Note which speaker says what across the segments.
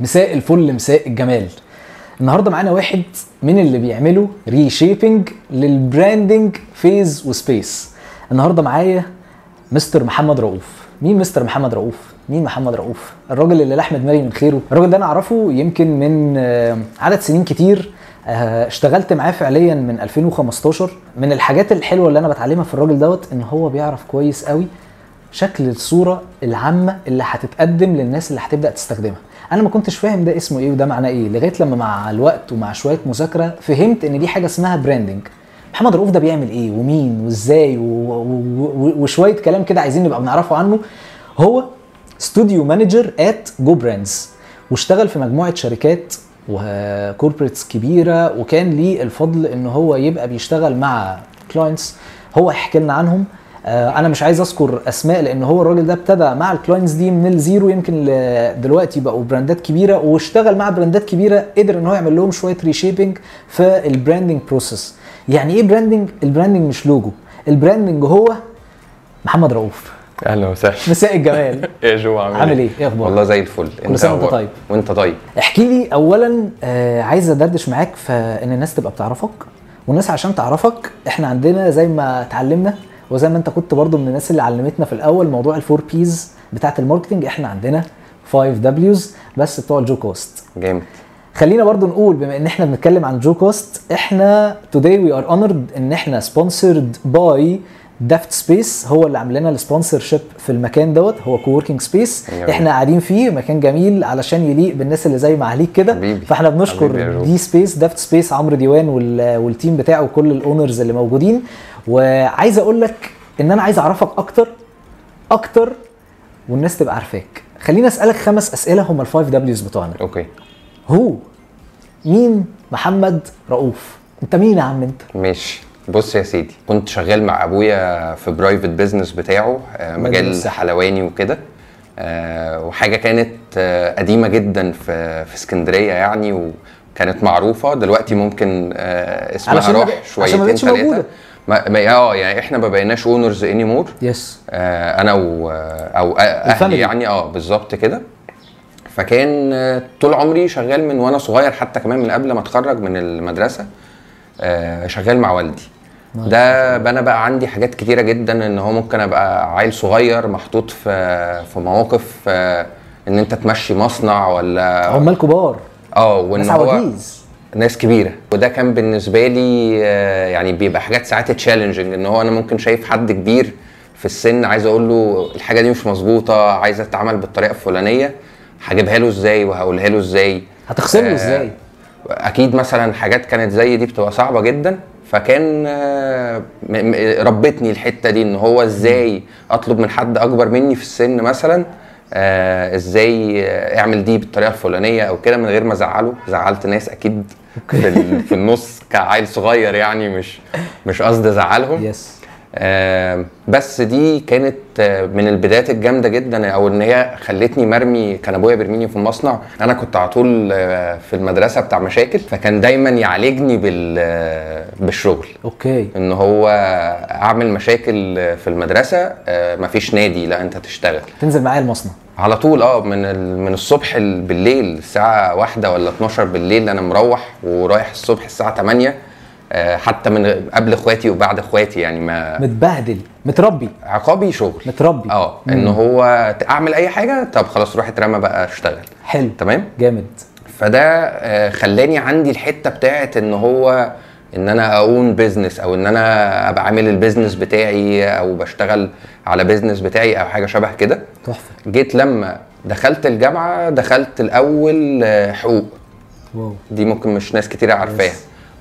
Speaker 1: مساء الفل مساء الجمال النهارده معانا واحد من اللي بيعملوا ريشيبنج للبراندنج فيز وسبيس النهارده معايا مستر محمد رؤوف مين مستر محمد رؤوف مين محمد رؤوف الراجل اللي لاحمد مري من خيره الراجل ده انا اعرفه يمكن من آه، عدد سنين كتير آه، اشتغلت معاه فعليا من 2015 من الحاجات الحلوه اللي انا بتعلمها في الراجل دوت ان هو بيعرف كويس قوي شكل الصوره العامه اللي هتتقدم للناس اللي هتبدا تستخدمها انا ما كنتش فاهم ده اسمه ايه وده معناه ايه لغايه لما مع الوقت ومع شويه مذاكره فهمت ان دي حاجه اسمها براندنج محمد رؤوف ده بيعمل ايه ومين وازاي و... و... و... وشويه كلام كده عايزين نبقى بنعرفه عنه هو استوديو مانجر ات جو براندز واشتغل في مجموعه شركات وكوربريتس كبيره وكان ليه الفضل ان هو يبقى بيشتغل مع كلاينتس هو يحكي لنا عنهم آه، انا مش عايز اذكر اسماء لان هو الراجل ده ابتدى مع الكلاينتس دي من الزيرو يمكن ل- دلوقتي بقوا براندات كبيره واشتغل مع براندات كبيره قدر ان هو يعمل لهم شويه ريشيبنج في البراندنج بروسيس يعني ايه براندنج البراندنج مش لوجو البراندنج هو محمد رؤوف
Speaker 2: اهلا وسهلا
Speaker 1: مساء الجمال
Speaker 2: ايه يا جو عامل,
Speaker 1: عامل ايه؟ إيه أخبارك؟
Speaker 2: والله زي الفل
Speaker 1: كل سنة وأنت
Speaker 2: أخبارك؟
Speaker 1: طيب.
Speaker 2: وانت طيب
Speaker 1: احكي لي اولا آه، عايز ادردش معاك فان الناس تبقى بتعرفك والناس عشان تعرفك احنا عندنا زي ما اتعلمنا وزي ما انت كنت برضو من الناس اللي علمتنا في الاول موضوع الفور بيز بتاعت الماركتنج احنا عندنا 5 دبليوز بس بتوع الجو كوست
Speaker 2: جامد
Speaker 1: خلينا برضو نقول بما ان احنا بنتكلم عن جو كوست احنا today we are honored ان احنا sponsored by دافت سبيس هو اللي عامل لنا السبونسر شيب في المكان دوت هو كووركينج سبيس
Speaker 2: أيوة.
Speaker 1: احنا قاعدين فيه مكان جميل علشان يليق بالناس اللي زي ما عليك كده
Speaker 2: حبيبي.
Speaker 1: فاحنا
Speaker 2: حبيبي يا
Speaker 1: بنشكر
Speaker 2: جو.
Speaker 1: دي سبيس دافت سبيس عمرو ديوان وال- والتيم بتاعه وكل الاونرز اللي موجودين وعايز اقول لك ان انا عايز اعرفك اكتر اكتر والناس تبقى عارفاك خليني اسالك خمس اسئله هم الفايف دبليوز بتوعنا
Speaker 2: اوكي
Speaker 1: هو مين محمد رؤوف انت مين يا عم انت
Speaker 2: ماشي بص يا سيدي كنت شغال مع ابويا في برايفت بيزنس بتاعه آه، مجال
Speaker 1: الصحة.
Speaker 2: حلواني وكده آه، وحاجه كانت آه، قديمه جدا في في اسكندريه يعني وكانت معروفه دلوقتي ممكن آه، اسمها
Speaker 1: علشان ما
Speaker 2: راح
Speaker 1: بق- عشان ما
Speaker 2: شويتين
Speaker 1: بقتش موجودة.
Speaker 2: ثلاثه ما ما- اه يعني احنا ما بقيناش اونرز اني مور
Speaker 1: يس
Speaker 2: آه، انا و او أ-
Speaker 1: الفاميلي.
Speaker 2: اهلي يعني اه بالظبط كده فكان آه، طول عمري شغال من وانا صغير حتى كمان من قبل ما اتخرج من المدرسه آه، شغال مع والدي ده بقى انا بقى عندي حاجات كتيره جدا ان هو ممكن ابقى عيل صغير محطوط في في مواقف آه، ان انت تمشي مصنع ولا
Speaker 1: آه. عمال كبار
Speaker 2: اه وان
Speaker 1: ناس
Speaker 2: هو
Speaker 1: عواجيز
Speaker 2: ناس كبيره وده كان بالنسبه لي آه، يعني بيبقى حاجات ساعات تشالنجنج ان هو انا ممكن شايف حد كبير في السن عايز اقول له الحاجه دي مش مظبوطه عايزه تتعمل بالطريقه الفلانيه هجيبها له ازاي وهقولها له ازاي
Speaker 1: هتخصم له
Speaker 2: آه،
Speaker 1: ازاي؟
Speaker 2: اكيد مثلا حاجات كانت زي دي بتبقى صعبه جدا فكان آه، م- م- ربتني الحته دي ان هو ازاي اطلب من حد اكبر مني في السن مثلا آه، ازاي آه، اعمل دي بالطريقه الفلانيه او كده من غير ما ازعله زعلت ناس اكيد في ال- في النص كعيل صغير يعني مش مش قصدي ازعلهم
Speaker 1: يس
Speaker 2: آه، بس دي كانت آه، من البدايات الجامده جدا او ان هي خلتني مرمي كان ابويا بيرميني في المصنع انا كنت على طول آه، في المدرسه بتاع مشاكل فكان دايما يعالجني بال آه، بالشغل
Speaker 1: اوكي
Speaker 2: ان هو اعمل مشاكل في المدرسه آه، مفيش نادي لا انت تشتغل
Speaker 1: تنزل معايا المصنع
Speaker 2: على طول اه من ال- من الصبح ال- بالليل الساعه واحدة ولا 12 بالليل انا مروح ورايح الصبح الساعه 8 آه، حتى من قبل اخواتي وبعد اخواتي يعني ما
Speaker 1: متبهدل متربي
Speaker 2: عقابي شغل
Speaker 1: متربي
Speaker 2: اه ان هو اعمل اي حاجه طب خلاص روح اترمى بقى اشتغل
Speaker 1: حلو
Speaker 2: تمام
Speaker 1: جامد
Speaker 2: فده آه، خلاني عندي الحته بتاعت ان هو ان انا اون بيزنس او ان انا ابقى عامل البيزنس بتاعي او بشتغل على بيزنس بتاعي او حاجه شبه كده
Speaker 1: تحفه
Speaker 2: جيت لما دخلت الجامعه دخلت الاول آه، حقوق
Speaker 1: واو
Speaker 2: دي ممكن مش ناس كتير عارفاها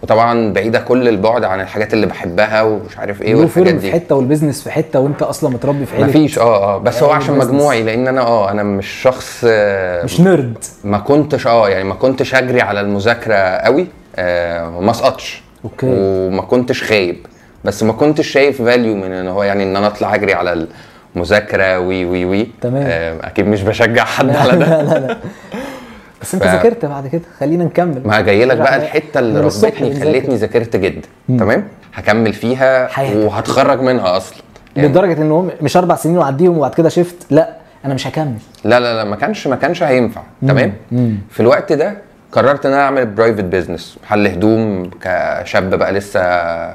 Speaker 2: وطبعا بعيده كل البعد عن الحاجات اللي بحبها ومش عارف ايه
Speaker 1: البلو
Speaker 2: والحاجات
Speaker 1: فيرم في
Speaker 2: دي
Speaker 1: حته والبيزنس في حته وانت اصلا متربي في عيله
Speaker 2: مفيش اه اه بس هو
Speaker 1: يعني
Speaker 2: عشان
Speaker 1: business.
Speaker 2: مجموعي لان انا اه انا مش شخص آه،
Speaker 1: مش نيرد
Speaker 2: ما كنتش اه يعني ما كنتش اجري على المذاكره قوي آه، وما اسقطش
Speaker 1: أوكي.
Speaker 2: وما كنتش خايب بس ما كنتش شايف فاليو من ان هو يعني ان انا اطلع اجري على المذاكره وي وي وي
Speaker 1: تمام.
Speaker 2: آه، اكيد مش بشجع حد على ده
Speaker 1: لا لا لا بس انت
Speaker 2: ف-
Speaker 1: ذاكرت بعد كده خلينا نكمل
Speaker 2: ما جاي لك بقى
Speaker 1: إحنا
Speaker 2: الحته اللي
Speaker 1: من الصبح
Speaker 2: ربتني
Speaker 1: بنذاكر.
Speaker 2: خلتني ذاكرت جدا تمام هكمل فيها
Speaker 1: حياتك.
Speaker 2: وهتخرج منها اصلا يعني
Speaker 1: لدرجه ان هم مش اربع سنين وعديهم وبعد كده شفت لا انا مش هكمل
Speaker 2: لا لا لا ما كانش ما كانش هينفع تمام
Speaker 1: مم.
Speaker 2: في الوقت ده قررت ان انا اعمل برايفت بيزنس محل هدوم كشاب بقى لسه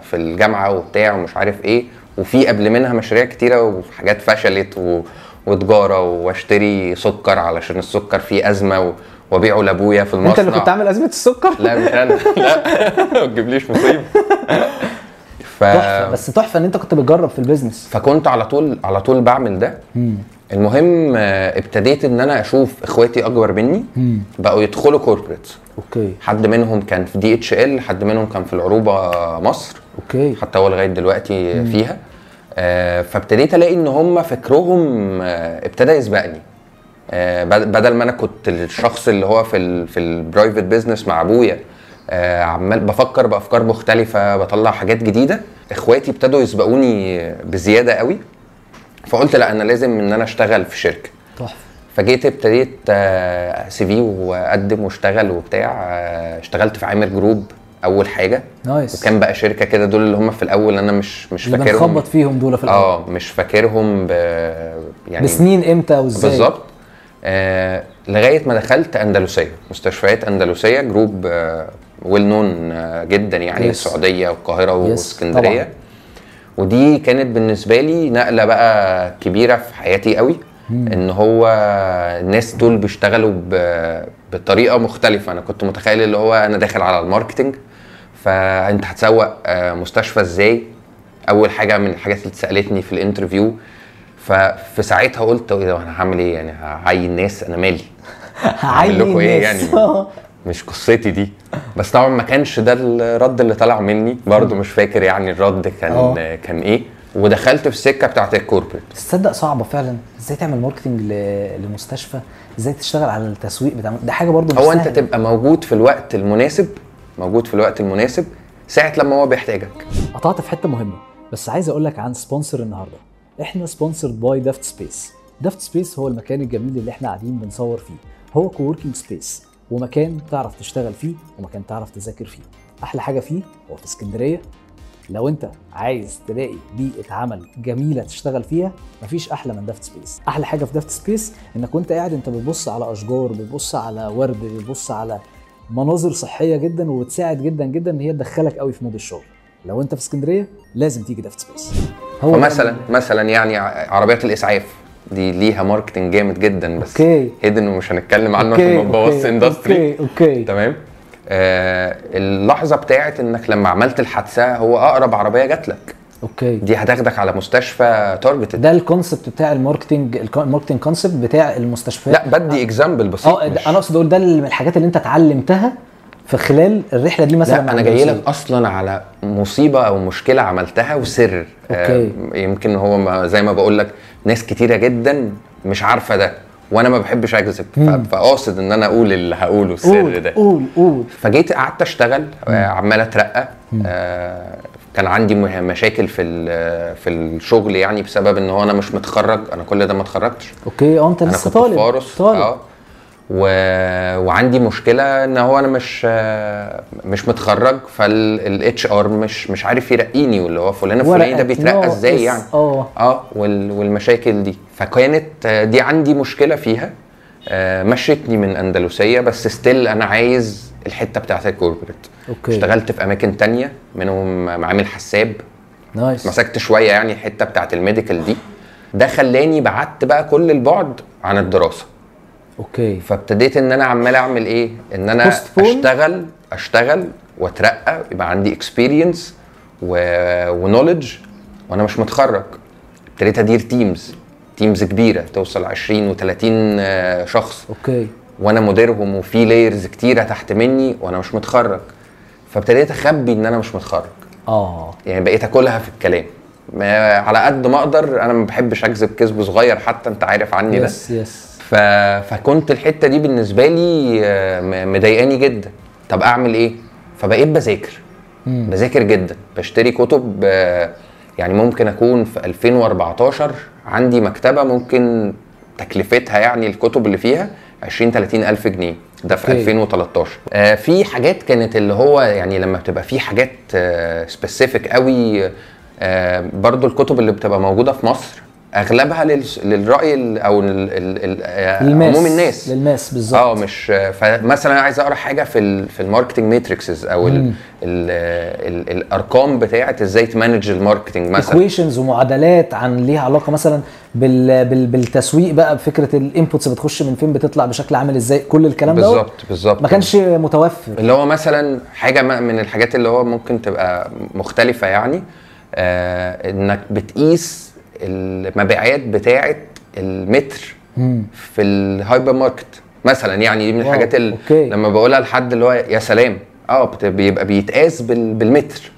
Speaker 2: في الجامعه وبتاع ومش عارف ايه وفي قبل منها مشاريع كتيره وحاجات فشلت و... وتجاره واشتري سكر علشان السكر فيه ازمه و... وابيعه لابويا في المصنع
Speaker 1: انت اللي كنت عامل ازمه السكر
Speaker 2: لا مش انا لا ما تجيبليش مصيبه ف...
Speaker 1: تحفه بس تحفه ان انت كنت بتجرب في البيزنس
Speaker 2: فكنت على طول على طول بعمل ده المهم آه، ابتديت ان انا اشوف اخواتي اكبر مني بقوا يدخلوا كوربريت
Speaker 1: اوكي
Speaker 2: حد منهم كان في دي اتش ال حد منهم كان في العروبه مصر
Speaker 1: اوكي
Speaker 2: حتى هو لغايه دلوقتي فيها آه، فابتديت الاقي ان هم فكرهم آه، ابتدى يسبقني آه، بد- بدل ما انا كنت الشخص اللي هو في ال في البرايفت بيزنس مع ابويا آه، عمال بفكر بافكار مختلفه بطلع حاجات جديده اخواتي ابتدوا يسبقوني بزياده قوي فقلت لا انا لازم ان انا اشتغل في شركه
Speaker 1: تحفه
Speaker 2: فجيت ابتديت آه، سي في واقدم واشتغل وبتاع آه، اشتغلت في عامر جروب اول حاجه
Speaker 1: نايس
Speaker 2: وكان بقى شركه كده دول اللي هم في الاول انا مش مش
Speaker 1: اللي
Speaker 2: فاكرهم
Speaker 1: بنخبط فيهم دول في الاول
Speaker 2: اه مش فاكرهم ب... يعني
Speaker 1: بسنين امتى وازاي
Speaker 2: بالظبط آه لغايه ما دخلت اندلسيه مستشفيات اندلسيه جروب آه ويل نون آه جدا يعني
Speaker 1: Yes.
Speaker 2: السعوديه والقاهره
Speaker 1: Yes،
Speaker 2: واسكندريه
Speaker 1: طبعا.
Speaker 2: ودي كانت بالنسبه لي نقله بقى كبيره في حياتي قوي ان هو الناس دول بيشتغلوا ب- بطريقه مختلفه انا كنت متخيل اللي هو انا داخل على الماركتنج فانت هتسوق آه، مستشفى ازاي اول حاجه من الحاجات اللي سالتني في الانترفيو ففي ساعتها قلت ايه ده انا هعمل ايه يعني هعين ناس انا مالي
Speaker 1: هعين
Speaker 2: لكم إيه
Speaker 1: الناس.
Speaker 2: يعني؟ مش قصتي دي بس طبعا ما كانش ده الرد اللي طلع مني برضو مش فاكر يعني الرد كان
Speaker 1: آه.
Speaker 2: كان ايه ودخلت في السكه بتاعت الكوربريت
Speaker 1: تصدق صعبه فعلا ازاي تعمل ماركتنج ل- لمستشفى ازاي تشتغل على التسويق بتاع ده حاجه برضو مش
Speaker 2: هو انت
Speaker 1: سهلة.
Speaker 2: تبقى موجود في الوقت المناسب موجود في الوقت المناسب ساعه لما هو بيحتاجك
Speaker 1: قطعت في حته مهمه بس عايز اقول لك عن سبونسر النهارده احنا سبونسرد باي دافت سبيس دافت سبيس هو المكان الجميل اللي احنا قاعدين بنصور فيه هو كووركينج سبيس ومكان تعرف تشتغل فيه ومكان تعرف تذاكر فيه احلى حاجه فيه هو في اسكندريه لو انت عايز تلاقي بيئه عمل جميله تشتغل فيها مفيش احلى من دافت سبيس احلى حاجه في دافت سبيس انك وانت قاعد انت بتبص على اشجار بتبص على ورد بتبص على مناظر صحيه جدا وبتساعد جدا جدا ان هي تدخلك قوي في مود الشغل لو انت في اسكندريه لازم تيجي دافت سبيس هو
Speaker 2: فمثلا مثلا يعني ع- عربيات الاسعاف دي ليها ماركتنج جامد جدا بس
Speaker 1: اوكي
Speaker 2: هيدن ومش هنتكلم عنه عشان ما نبوظش اندستري
Speaker 1: اوكي اوكي
Speaker 2: تمام آه اللحظه بتاعت انك لما عملت الحادثه هو اقرب عربيه جات لك
Speaker 1: اوكي
Speaker 2: دي هتاخدك على مستشفى تارجتد
Speaker 1: ده الكونسبت بتاع الماركتنج الماركتنج كونسبت بتاع المستشفات
Speaker 2: لا بدي اكزامبل بسيط
Speaker 1: اه ده-
Speaker 2: مش-
Speaker 1: انا اقصد اقول ده اللي- من الحاجات اللي انت اتعلمتها في خلال الرحله دي مثلا
Speaker 2: لا
Speaker 1: مع
Speaker 2: انا جاي
Speaker 1: المدرسين.
Speaker 2: لك اصلا على مصيبه او مشكله عملتها وسر آه
Speaker 1: أوكي.
Speaker 2: يمكن هو ما زي ما بقول لك ناس كتيره جدا مش عارفه ده وانا ما بحبش اكذب ف- فقاصد ان انا اقول اللي هقوله السر
Speaker 1: قول
Speaker 2: ده
Speaker 1: قول قول
Speaker 2: فجيت قعدت اشتغل آه، عمال اترقى آه، كان عندي مه- مشاكل في ال- في الشغل يعني بسبب ان هو انا مش متخرج انا كل ده ما اتخرجتش
Speaker 1: اوكي اه انت
Speaker 2: انا
Speaker 1: لسه
Speaker 2: كنت
Speaker 1: طالب
Speaker 2: في فارس
Speaker 1: طالب
Speaker 2: اه و... وعندي مشكله ان هو انا مش آه، مش متخرج فالاتش ار مش مش عارف يرقيني واللي هو فلان الفلاني ده
Speaker 1: ورقة
Speaker 2: بيترقى
Speaker 1: ناقص.
Speaker 2: ازاي يعني
Speaker 1: اه
Speaker 2: اه وال... والمشاكل دي فكانت آه، دي عندي مشكله فيها آه، مشتني من اندلسيه بس ستيل انا عايز الحته بتاعت الكوربريت
Speaker 1: اوكي
Speaker 2: اشتغلت في اماكن تانية منهم معامل حساب
Speaker 1: نايس
Speaker 2: مسكت شويه يعني الحته بتاعت الميديكال دي ده خلاني بعدت بقى كل البعد عن الدراسه
Speaker 1: اوكي
Speaker 2: فابتديت ان انا عمال اعمل ايه ان انا
Speaker 1: Postpone.
Speaker 2: اشتغل اشتغل واترقى يبقى عندي اكسبيرينس ونولج وانا مش متخرج ابتديت ادير تيمز تيمز كبيره توصل 20 و30 شخص
Speaker 1: اوكي
Speaker 2: وانا مديرهم وفي لايرز كتيره تحت مني وانا مش متخرج فابتديت اخبي ان انا مش متخرج
Speaker 1: اه
Speaker 2: يعني بقيت اكلها في الكلام ما على قد ما اقدر انا ما بحبش اكذب كذب صغير حتى انت عارف عني يعني ده
Speaker 1: يس يس
Speaker 2: ف... فكنت الحته دي بالنسبه لي آه، م- مضايقاني جدا طب اعمل ايه فبقيت بذاكر بذاكر جدا بشتري كتب آه، يعني ممكن اكون في 2014 عندي مكتبه ممكن تكلفتها يعني الكتب اللي فيها 20 30 الف جنيه ده في
Speaker 1: أوكي.
Speaker 2: 2013 آه في حاجات كانت اللي هو يعني لما بتبقى في حاجات آه، سبيسيفيك قوي آه برضو الكتب اللي بتبقى موجوده في مصر اغلبها لل... للراي ال... او ال... ال... ال...
Speaker 1: للماس
Speaker 2: عموم الناس
Speaker 1: للماس بالظبط
Speaker 2: اه مش فمثلا انا عايز اقرا حاجه في ال في الماركتنج ماتريكسز او ال
Speaker 1: مم.
Speaker 2: ال ال الارقام بتاعه ازاي تمانج الماركتنج مثلا
Speaker 1: ايكويشنز ومعادلات عن ليها علاقه مثلا بال... بال... بالتسويق بقى بفكره الانبوتس بتخش من فين بتطلع بشكل عامل ازاي كل الكلام ده
Speaker 2: بالظبط بالظبط
Speaker 1: ما كانش متوفر
Speaker 2: اللي هو مثلا حاجه م- من الحاجات اللي هو ممكن تبقى مختلفه يعني آه انك بتقيس المبيعات بتاعه المتر
Speaker 1: مم.
Speaker 2: في الهايبر ماركت مثلا يعني دي من
Speaker 1: واو،
Speaker 2: الحاجات اللي
Speaker 1: أوكي.
Speaker 2: لما بقولها لحد اللي هو يا سلام اه بت- بيبقى بيتقاس بال- بالمتر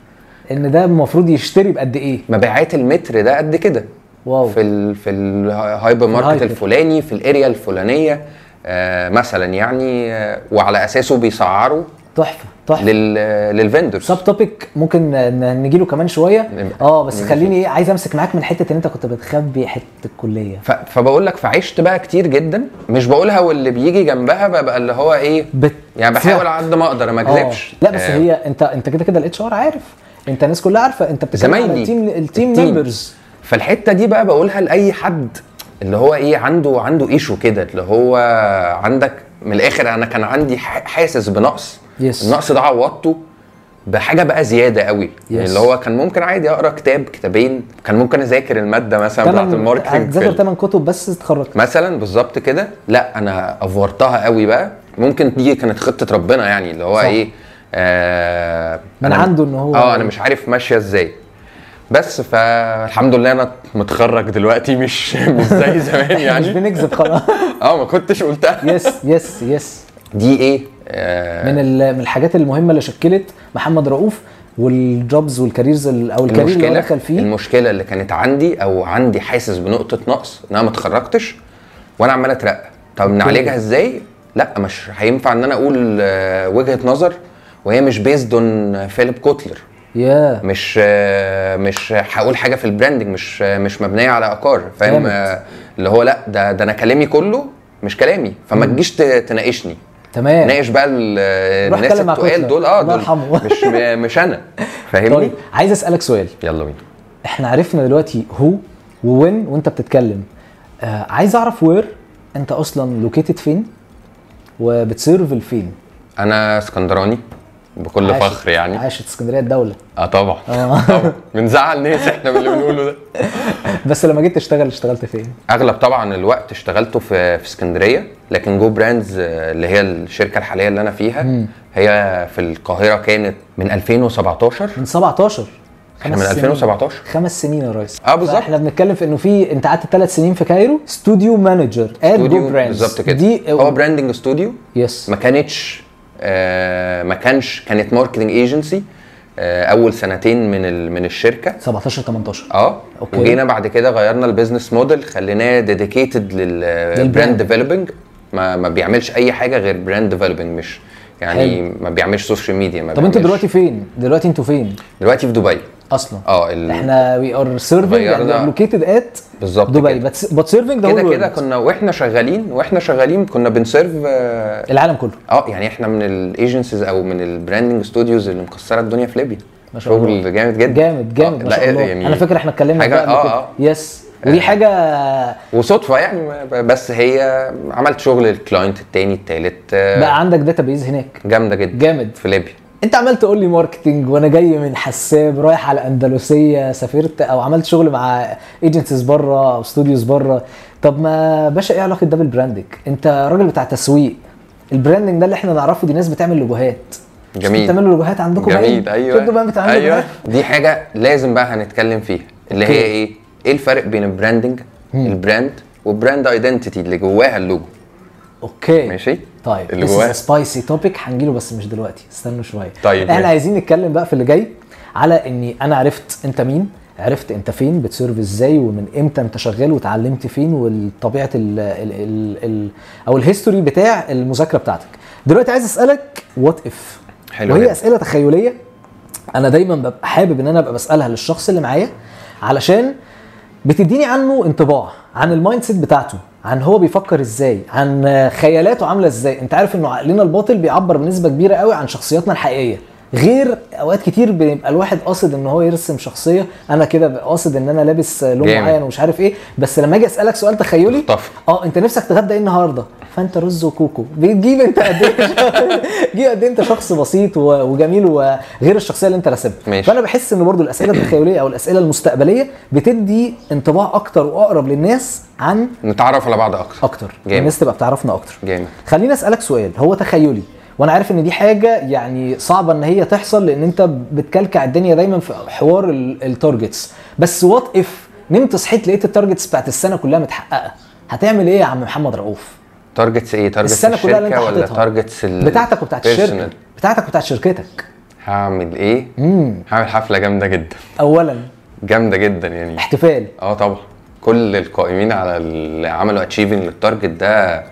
Speaker 1: ان ده المفروض يشتري بقد ايه
Speaker 2: مبيعات المتر ده قد كده
Speaker 1: واو
Speaker 2: في ال في الهايبر ماركت
Speaker 1: الهايبر.
Speaker 2: الفلاني في الاريا الفلانيه آه مثلا يعني آه وعلى اساسه بيسعروا
Speaker 1: تحفه تحفه
Speaker 2: لل للفندرز
Speaker 1: سب توبيك ممكن ن- نجيله كمان شويه
Speaker 2: نبقى-
Speaker 1: اه بس
Speaker 2: نبقى
Speaker 1: خليني ايه عايز امسك معاك من حته ان انت كنت بتخبي حته الكليه
Speaker 2: ف- فبقول لك فعشت بقى كتير جدا مش بقولها واللي بيجي جنبها ببقى اللي هو ايه
Speaker 1: بت...
Speaker 2: يعني بحاول على قد ما اقدر ما
Speaker 1: آه.
Speaker 2: اكذبش
Speaker 1: لا بس
Speaker 2: آه،
Speaker 1: هي انت انت كده كده الاتش ار عارف انت الناس كلها عارفه انت بتتكلم على
Speaker 2: زمايلي.
Speaker 1: التيم التيم
Speaker 2: التيم.
Speaker 1: ممبرز
Speaker 2: فالحته دي بقى بقولها لاي حد اللي هو ايه عنده عنده ايشو كده اللي هو عندك من الاخر انا كان عندي ح- حاسس بنقص
Speaker 1: Yes.
Speaker 2: النقص ده عوضته بحاجه بقى زياده قوي
Speaker 1: Yes.
Speaker 2: يعني اللي هو كان ممكن عادي اقرا كتاب كتابين كان ممكن اذاكر الماده مثلا بتاعت الماركتنج في
Speaker 1: هتذاكر
Speaker 2: ال-
Speaker 1: 8 كتب بس اتخرجت
Speaker 2: مثلا بالظبط كده لا انا افورتها قوي بقى ممكن دي كانت خطه ربنا يعني اللي هو
Speaker 1: صح.
Speaker 2: ايه آه
Speaker 1: من عنده إن هو-
Speaker 2: اه انا مش عارف ماشيه ازاي بس فالحمد لله انا متخرج دلوقتي مش مش زي زمان
Speaker 1: مش
Speaker 2: يعني
Speaker 1: بنكذب خلاص
Speaker 2: اه ما كنتش قلتها
Speaker 1: يس يس يس
Speaker 2: دي ايه آه
Speaker 1: من ال- من الحاجات المهمه اللي شكلت محمد رؤوف والجوبز والكاريرز ال- او الكارير اللي هو
Speaker 2: المشكله
Speaker 1: دخل فيه
Speaker 2: المشكله اللي كانت عندي او عندي حاسس بنقطه نقص ان انا ما اتخرجتش وانا عمال اترقى طب نعالجها ازاي لا مش هينفع ان انا اقول آه، وجهه نظر وهي مش بيزد اون فيليب كوتلر
Speaker 1: يا
Speaker 2: مش آه، مش هقول حاجه في البراندنج مش آه، مش مبنيه على عقار فاهم
Speaker 1: جامد.
Speaker 2: آه، اللي هو لا ده ده انا كلامي كله مش كلامي فما تجيش ت- تناقشني
Speaker 1: تمام
Speaker 2: ناقش بقى ال-
Speaker 1: روح
Speaker 2: الناس
Speaker 1: اتكلم مع
Speaker 2: التقال
Speaker 1: كوتلر.
Speaker 2: دول اه
Speaker 1: الله
Speaker 2: دول
Speaker 1: يرحمه.
Speaker 2: مش م- مش انا فاهمني
Speaker 1: طيب عايز اسالك سؤال
Speaker 2: يلا بينا
Speaker 1: احنا عرفنا دلوقتي هو ووين وانت بتتكلم آه عايز اعرف وير انت اصلا لوكيتد فين وبتسيرفل فين
Speaker 2: انا اسكندراني بكل
Speaker 1: عاشت-
Speaker 2: فخر يعني
Speaker 1: عاشت اسكندريه الدوله
Speaker 2: اه طبعا
Speaker 1: آه.
Speaker 2: طبعا بنزعل ناس احنا باللي بنقوله ده
Speaker 1: بس لما جيت تشتغل اشتغلت فين
Speaker 2: اغلب طبعا الوقت اشتغلته في في اسكندريه لكن جو براندز آه، اللي هي الشركه الحاليه اللي انا فيها هي في القاهره كانت من 2017
Speaker 1: من 17
Speaker 2: احنا
Speaker 1: خمس
Speaker 2: من
Speaker 1: سنين.
Speaker 2: 2017
Speaker 1: خمس سنين يا ريس
Speaker 2: اه بالظبط.
Speaker 1: احنا بنتكلم في انه في انت قعدت ثلاث سنين في كايرو استوديو مانجر اد جو
Speaker 2: استوديو
Speaker 1: براندز
Speaker 2: بالظبط كده
Speaker 1: دي
Speaker 2: هو براندنج استوديو
Speaker 1: يس
Speaker 2: ما كانتش آه، ما كانش كانت ماركتنج ايجنسي اول سنتين من ال- من الشركه
Speaker 1: 17 18
Speaker 2: اه
Speaker 1: أوكي.
Speaker 2: اوكي وجينا بعد كده غيرنا البيزنس موديل خليناه ديديكيتد للبراند ديفلوبينج ما ما بيعملش اي حاجه غير براند ديفلوبينج مش يعني ما بيعملش سوشيال ميديا ما
Speaker 1: طب انتوا
Speaker 2: بيعملش-
Speaker 1: دلوقتي فين دلوقتي انتوا فين
Speaker 2: دلوقتي في دبي
Speaker 1: اصلا
Speaker 2: اه ال...
Speaker 1: احنا وي ار سيرفنج
Speaker 2: غيرنا.
Speaker 1: لوكيتد ات
Speaker 2: بالظبط
Speaker 1: يعني دبي
Speaker 2: كده.
Speaker 1: بس سيرفنج ده
Speaker 2: كده كده كنا واحنا شغالين واحنا شغالين كنا بنسيرف اه
Speaker 1: العالم كله
Speaker 2: آه، يعني احنا من الايجنسيز او من البراندنج ستوديوز اللي مكسره الدنيا في ليبيا
Speaker 1: ما شاء الله.
Speaker 2: شغل جامد جدا
Speaker 1: جامد جامد
Speaker 2: آه،
Speaker 1: ما
Speaker 2: لا،
Speaker 1: شاء الله
Speaker 2: يعني
Speaker 1: انا فاكر احنا اتكلمنا
Speaker 2: حاجة-
Speaker 1: بقى قبل
Speaker 2: آه،
Speaker 1: كده.
Speaker 2: آه.
Speaker 1: يس ودي حاجه
Speaker 2: وصدفه يعني ما- بس هي عملت شغل الكلاينت التاني التالت آه،
Speaker 1: بقى عندك داتابيز هناك
Speaker 2: جامده جدا
Speaker 1: جامد
Speaker 2: في ليبيا
Speaker 1: انت عمال تقول لي ماركتنج وانا جاي من حساب رايح على الاندلسيه سافرت او عملت شغل مع ايجنسيز بره او استوديوز بره طب ما باشا ايه علاقه ده بالبراندنج انت راجل بتاع تسويق البراندنج ده اللي احنا نعرفه دي ناس بتعمل لوجوهات
Speaker 2: جميل.
Speaker 1: بتعملوا لوجوهات عندكم
Speaker 2: جميل
Speaker 1: باين؟
Speaker 2: ايوه
Speaker 1: انتوا بقى بتعملوا
Speaker 2: ايوه
Speaker 1: لوجوهات؟
Speaker 2: دي حاجه لازم بقى هنتكلم فيها اللي هي
Speaker 1: أوكي.
Speaker 2: ايه؟ ايه الفرق بين البراندنج البراند والبراند ايدنتيتي اللي جواها اللوجو
Speaker 1: اوكي
Speaker 2: ماشي؟
Speaker 1: طيب
Speaker 2: إيه؟ اللي
Speaker 1: اللي
Speaker 2: جواه.
Speaker 1: سبايسي توبيك هنجيله بس مش دلوقتي استنوا شويه
Speaker 2: طيب،
Speaker 1: احنا
Speaker 2: ماشي.
Speaker 1: عايزين نتكلم بقى في اللي جاي على اني انا عرفت انت مين عرفت انت فين بتسيرف ازاي ومن امتى انت شغال وتعلمت فين وطبيعه ال ال ال ال او الهيستوري بتاع المذاكره بتاعتك دلوقتي عايز اسالك وات اف
Speaker 2: حلو
Speaker 1: وهي
Speaker 2: جدا.
Speaker 1: اسئله تخيليه انا دايما ببقى حابب ان انا ابقى بسالها للشخص اللي معايا علشان بتديني عنه انطباع عن المايند سيت بتاعته عن هو بيفكر ازاي عن خيالاته عامله ازاي انت عارف انه عقلنا الباطن بيعبر بنسبه كبيره قوي عن شخصياتنا الحقيقيه غير اوقات كتير بيبقى الواحد قاصد ان هو يرسم شخصيه انا كده ببقى قاصد ان انا لابس لون
Speaker 2: جامد.
Speaker 1: معين ومش عارف ايه بس لما اجي اسالك سؤال تخيلي
Speaker 2: اختفر.
Speaker 1: اه انت نفسك تتغدى ايه النهارده فانت رز وكوكو بتجيب انت قد ايه جيب قد ايه انت شخص بسيط و- وجميل وغير الشخصيه اللي انت راسمها
Speaker 2: ماشي.
Speaker 1: فانا بحس ان برضو الاسئله التخيليه او الاسئله المستقبليه بتدي انطباع اكتر واقرب للناس عن
Speaker 2: نتعرف على بعض اكتر
Speaker 1: اكتر
Speaker 2: جامد.
Speaker 1: الناس تبقى بتعرفنا اكتر
Speaker 2: جامد
Speaker 1: خليني اسالك سؤال هو تخيلي وانا عارف ان دي حاجه يعني صعبه ان هي تحصل لان انت بتكلكع الدنيا دايما في حوار ال- التارجتس بس وات اف نمت صحيت لقيت التارجتس بتاعت السنه كلها متحققه هتعمل ايه يا عم محمد رؤوف
Speaker 2: تارجتس ايه تارجتس
Speaker 1: السنة كلها اللي
Speaker 2: الشركة
Speaker 1: أنت
Speaker 2: ولا
Speaker 1: حاططها.
Speaker 2: تارجتس ال-
Speaker 1: بتاعتك وبتاعت الشركه
Speaker 2: personal؟
Speaker 1: بتاعتك وبتاعت شركتك
Speaker 2: هعمل ايه
Speaker 1: امم
Speaker 2: هعمل حفله جامده جدا
Speaker 1: اولا
Speaker 2: جامده جدا يعني
Speaker 1: احتفال
Speaker 2: اه طبعا كل القائمين على اللي عملوا اتشيفنج للتارجت ده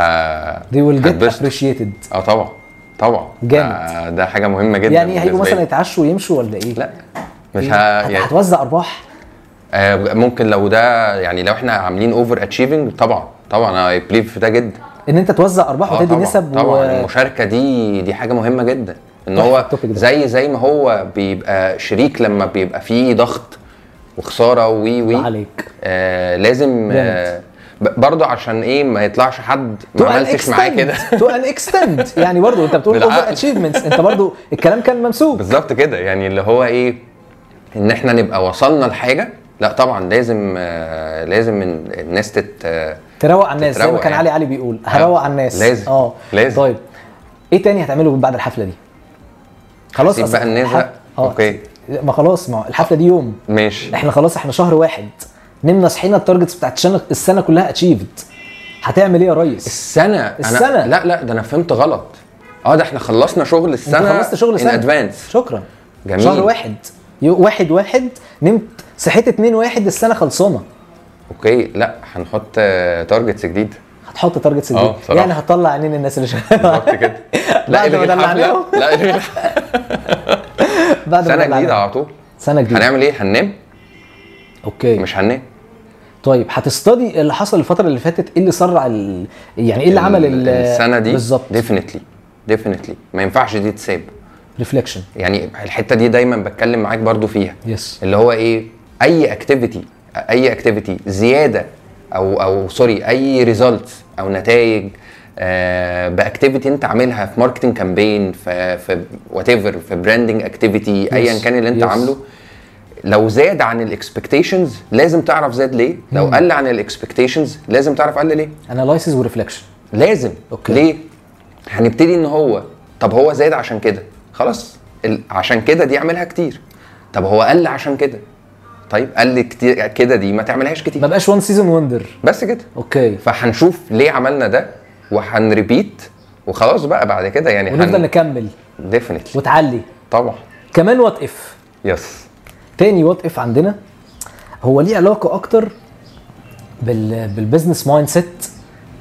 Speaker 2: ه...
Speaker 1: دي ويل جيت
Speaker 2: هتبسط.
Speaker 1: ابريشيتد
Speaker 2: اه طبعا طبعا
Speaker 1: جامد.
Speaker 2: ده, ده حاجه مهمه جدا
Speaker 1: يعني هيجوا
Speaker 2: بالنسبة
Speaker 1: مثلا
Speaker 2: لي.
Speaker 1: يتعشوا ويمشوا ولا ايه؟
Speaker 2: لا مش
Speaker 1: إيه؟
Speaker 2: ها
Speaker 1: هت-
Speaker 2: يعني
Speaker 1: هتوزع ارباح
Speaker 2: آه ممكن لو ده يعني لو احنا عاملين اوفر اتشيفنج طبعا طبعا انا بليف في ده جدا اه
Speaker 1: ان انت توزع ارباح وتدي
Speaker 2: طبعا
Speaker 1: نسب
Speaker 2: طبعا
Speaker 1: و...
Speaker 2: المشاركه دي دي حاجه مهمه جدا ان
Speaker 1: تحفة
Speaker 2: هو
Speaker 1: التوبيك ده.
Speaker 2: زي زي ما هو بيبقى شريك لما بيبقى فيه ضغط وخساره وي وي
Speaker 1: عليك
Speaker 2: آه لازم آه ب- برضه عشان ايه ما يطلعش حد ما عملتش معاه كده
Speaker 1: تو ان اكستند يعني برضو انت بتقول
Speaker 2: بالعقل.
Speaker 1: اوفر اتشيفمنتس انت برضو الكلام كان ممسوك
Speaker 2: بالظبط كده يعني اللي هو ايه ان احنا نبقى وصلنا لحاجه لا طبعا لازم آه لازم إن- الناس تت آه
Speaker 1: تروق على الناس زي ما
Speaker 2: تتروق
Speaker 1: كان
Speaker 2: يعني.
Speaker 1: علي علي بيقول هروق على الناس
Speaker 2: لازم.
Speaker 1: اه
Speaker 2: لازم.
Speaker 1: طيب ايه تاني هتعمله بعد الحفله دي؟ خلاص
Speaker 2: تسيب
Speaker 1: أصل
Speaker 2: بقى الناس
Speaker 1: الحف- آه.
Speaker 2: بقى اوكي
Speaker 1: ما خلاص ما الحفله دي يوم
Speaker 2: ماشي
Speaker 1: احنا خلاص احنا شهر واحد نمنا صحينا التارجتس بتاعت الشن- السنه كلها اتشيفد هتعمل ايه يا ريس؟
Speaker 2: السنه أنا
Speaker 1: السنة.
Speaker 2: لا لا ده انا فهمت غلط اه ده احنا خلصنا شغل السنه
Speaker 1: انت خلصت شغل سنه
Speaker 2: ان ادفانس
Speaker 1: شكرا
Speaker 2: جميل.
Speaker 1: شهر واحد يو- واحد واحد نمت صحيت اتنين واحد السنه خلصانه
Speaker 2: اوكي لا هنحط آه، تارجتس جديده
Speaker 1: هتحط تارجتس
Speaker 2: اه،
Speaker 1: جديد
Speaker 2: بصراحة.
Speaker 1: يعني هتطلع عينين الناس اللي شغاله
Speaker 2: بالظبط كده
Speaker 1: بعد ما
Speaker 2: الغي
Speaker 1: دلعناهم
Speaker 2: الحفلة. لا الغي الحفلة.
Speaker 1: بعد ما
Speaker 2: سنه
Speaker 1: دلعناهم.
Speaker 2: جديده على طول
Speaker 1: سنه جديده
Speaker 2: هنعمل ايه هننام
Speaker 1: اوكي
Speaker 2: مش هننام
Speaker 1: طيب هتستدي اللي حصل الفتره اللي فاتت ايه اللي سرع ال... يعني ايه اللي عمل ال...
Speaker 2: السنه دي
Speaker 1: بالظبط
Speaker 2: ديفينتلي ديفينتلي ما ينفعش دي تساب
Speaker 1: ريفليكشن
Speaker 2: يعني الحته دي دايما بتكلم معاك برضو فيها
Speaker 1: يس
Speaker 2: اللي هو ايه اي اكتيفيتي اي اكتيفيتي زياده او او سوري اي ريزلت او نتائج آه باكتيفيتي انت عاملها في ماركتنج كامبين في في وات ايفر في براندنج اكتيفيتي ايا
Speaker 1: Yes.
Speaker 2: كان اللي انت
Speaker 1: Yes.
Speaker 2: عامله لو زاد عن الاكسبكتيشنز لازم تعرف زاد ليه لو قل عن الاكسبكتيشنز لازم تعرف قل ليه
Speaker 1: انالايسيز وريفليكشن
Speaker 2: لازم
Speaker 1: أوكي.
Speaker 2: ليه هنبتدي ان هو طب هو زاد عشان كده خلاص ال... عشان كده دي اعملها كتير طب هو قل عشان كده طيب قل كتير كده دي ما تعملهاش
Speaker 1: ما
Speaker 2: كتير
Speaker 1: بقاش وان سيزون وندر
Speaker 2: بس كده
Speaker 1: اوكي
Speaker 2: فهنشوف ليه عملنا ده وهنريبيت وخلاص بقى بعد كده يعني
Speaker 1: ونفضل نكمل
Speaker 2: ديفينتلي
Speaker 1: وتعلي
Speaker 2: طبعا
Speaker 1: كمان وات اف
Speaker 2: يس
Speaker 1: تاني وات اف عندنا هو ليه علاقه اكتر بال... بالبزنس مايند سيت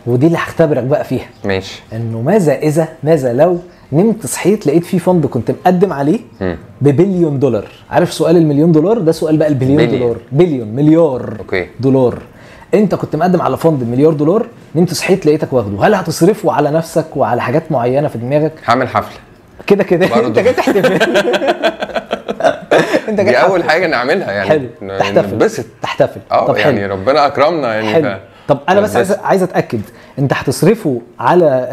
Speaker 1: ودي اللي هختبرك بقى فيها
Speaker 2: ماشي
Speaker 1: انه ماذا اذا ماذا لو نمت صحيت لقيت في فند كنت مقدم عليه
Speaker 2: مم.
Speaker 1: ببليون دولار عارف سؤال المليون دولار ده سؤال بقى البليون
Speaker 2: بليون.
Speaker 1: دولار بليون مليار
Speaker 2: أوكي.
Speaker 1: دولار انت كنت مقدم على فند مليار دولار نمت صحيت لقيتك واخده هل هتصرفه على نفسك وعلى حاجات معينه في دماغك
Speaker 2: هعمل حفله
Speaker 1: كده كده
Speaker 2: برضه.
Speaker 1: انت جاي تحتفل انت
Speaker 2: دي اول
Speaker 1: تحتفل.
Speaker 2: حاجه نعملها يعني
Speaker 1: حلو
Speaker 2: ن-
Speaker 1: تحتفل
Speaker 2: نتبسط
Speaker 1: تحتفل
Speaker 2: اه
Speaker 1: طب
Speaker 2: يعني
Speaker 1: حلو.
Speaker 2: ربنا اكرمنا يعني
Speaker 1: حلو
Speaker 2: ف-
Speaker 1: طب انا بس عايز
Speaker 2: نتبسط.
Speaker 1: عايز اتاكد انت هتصرفه على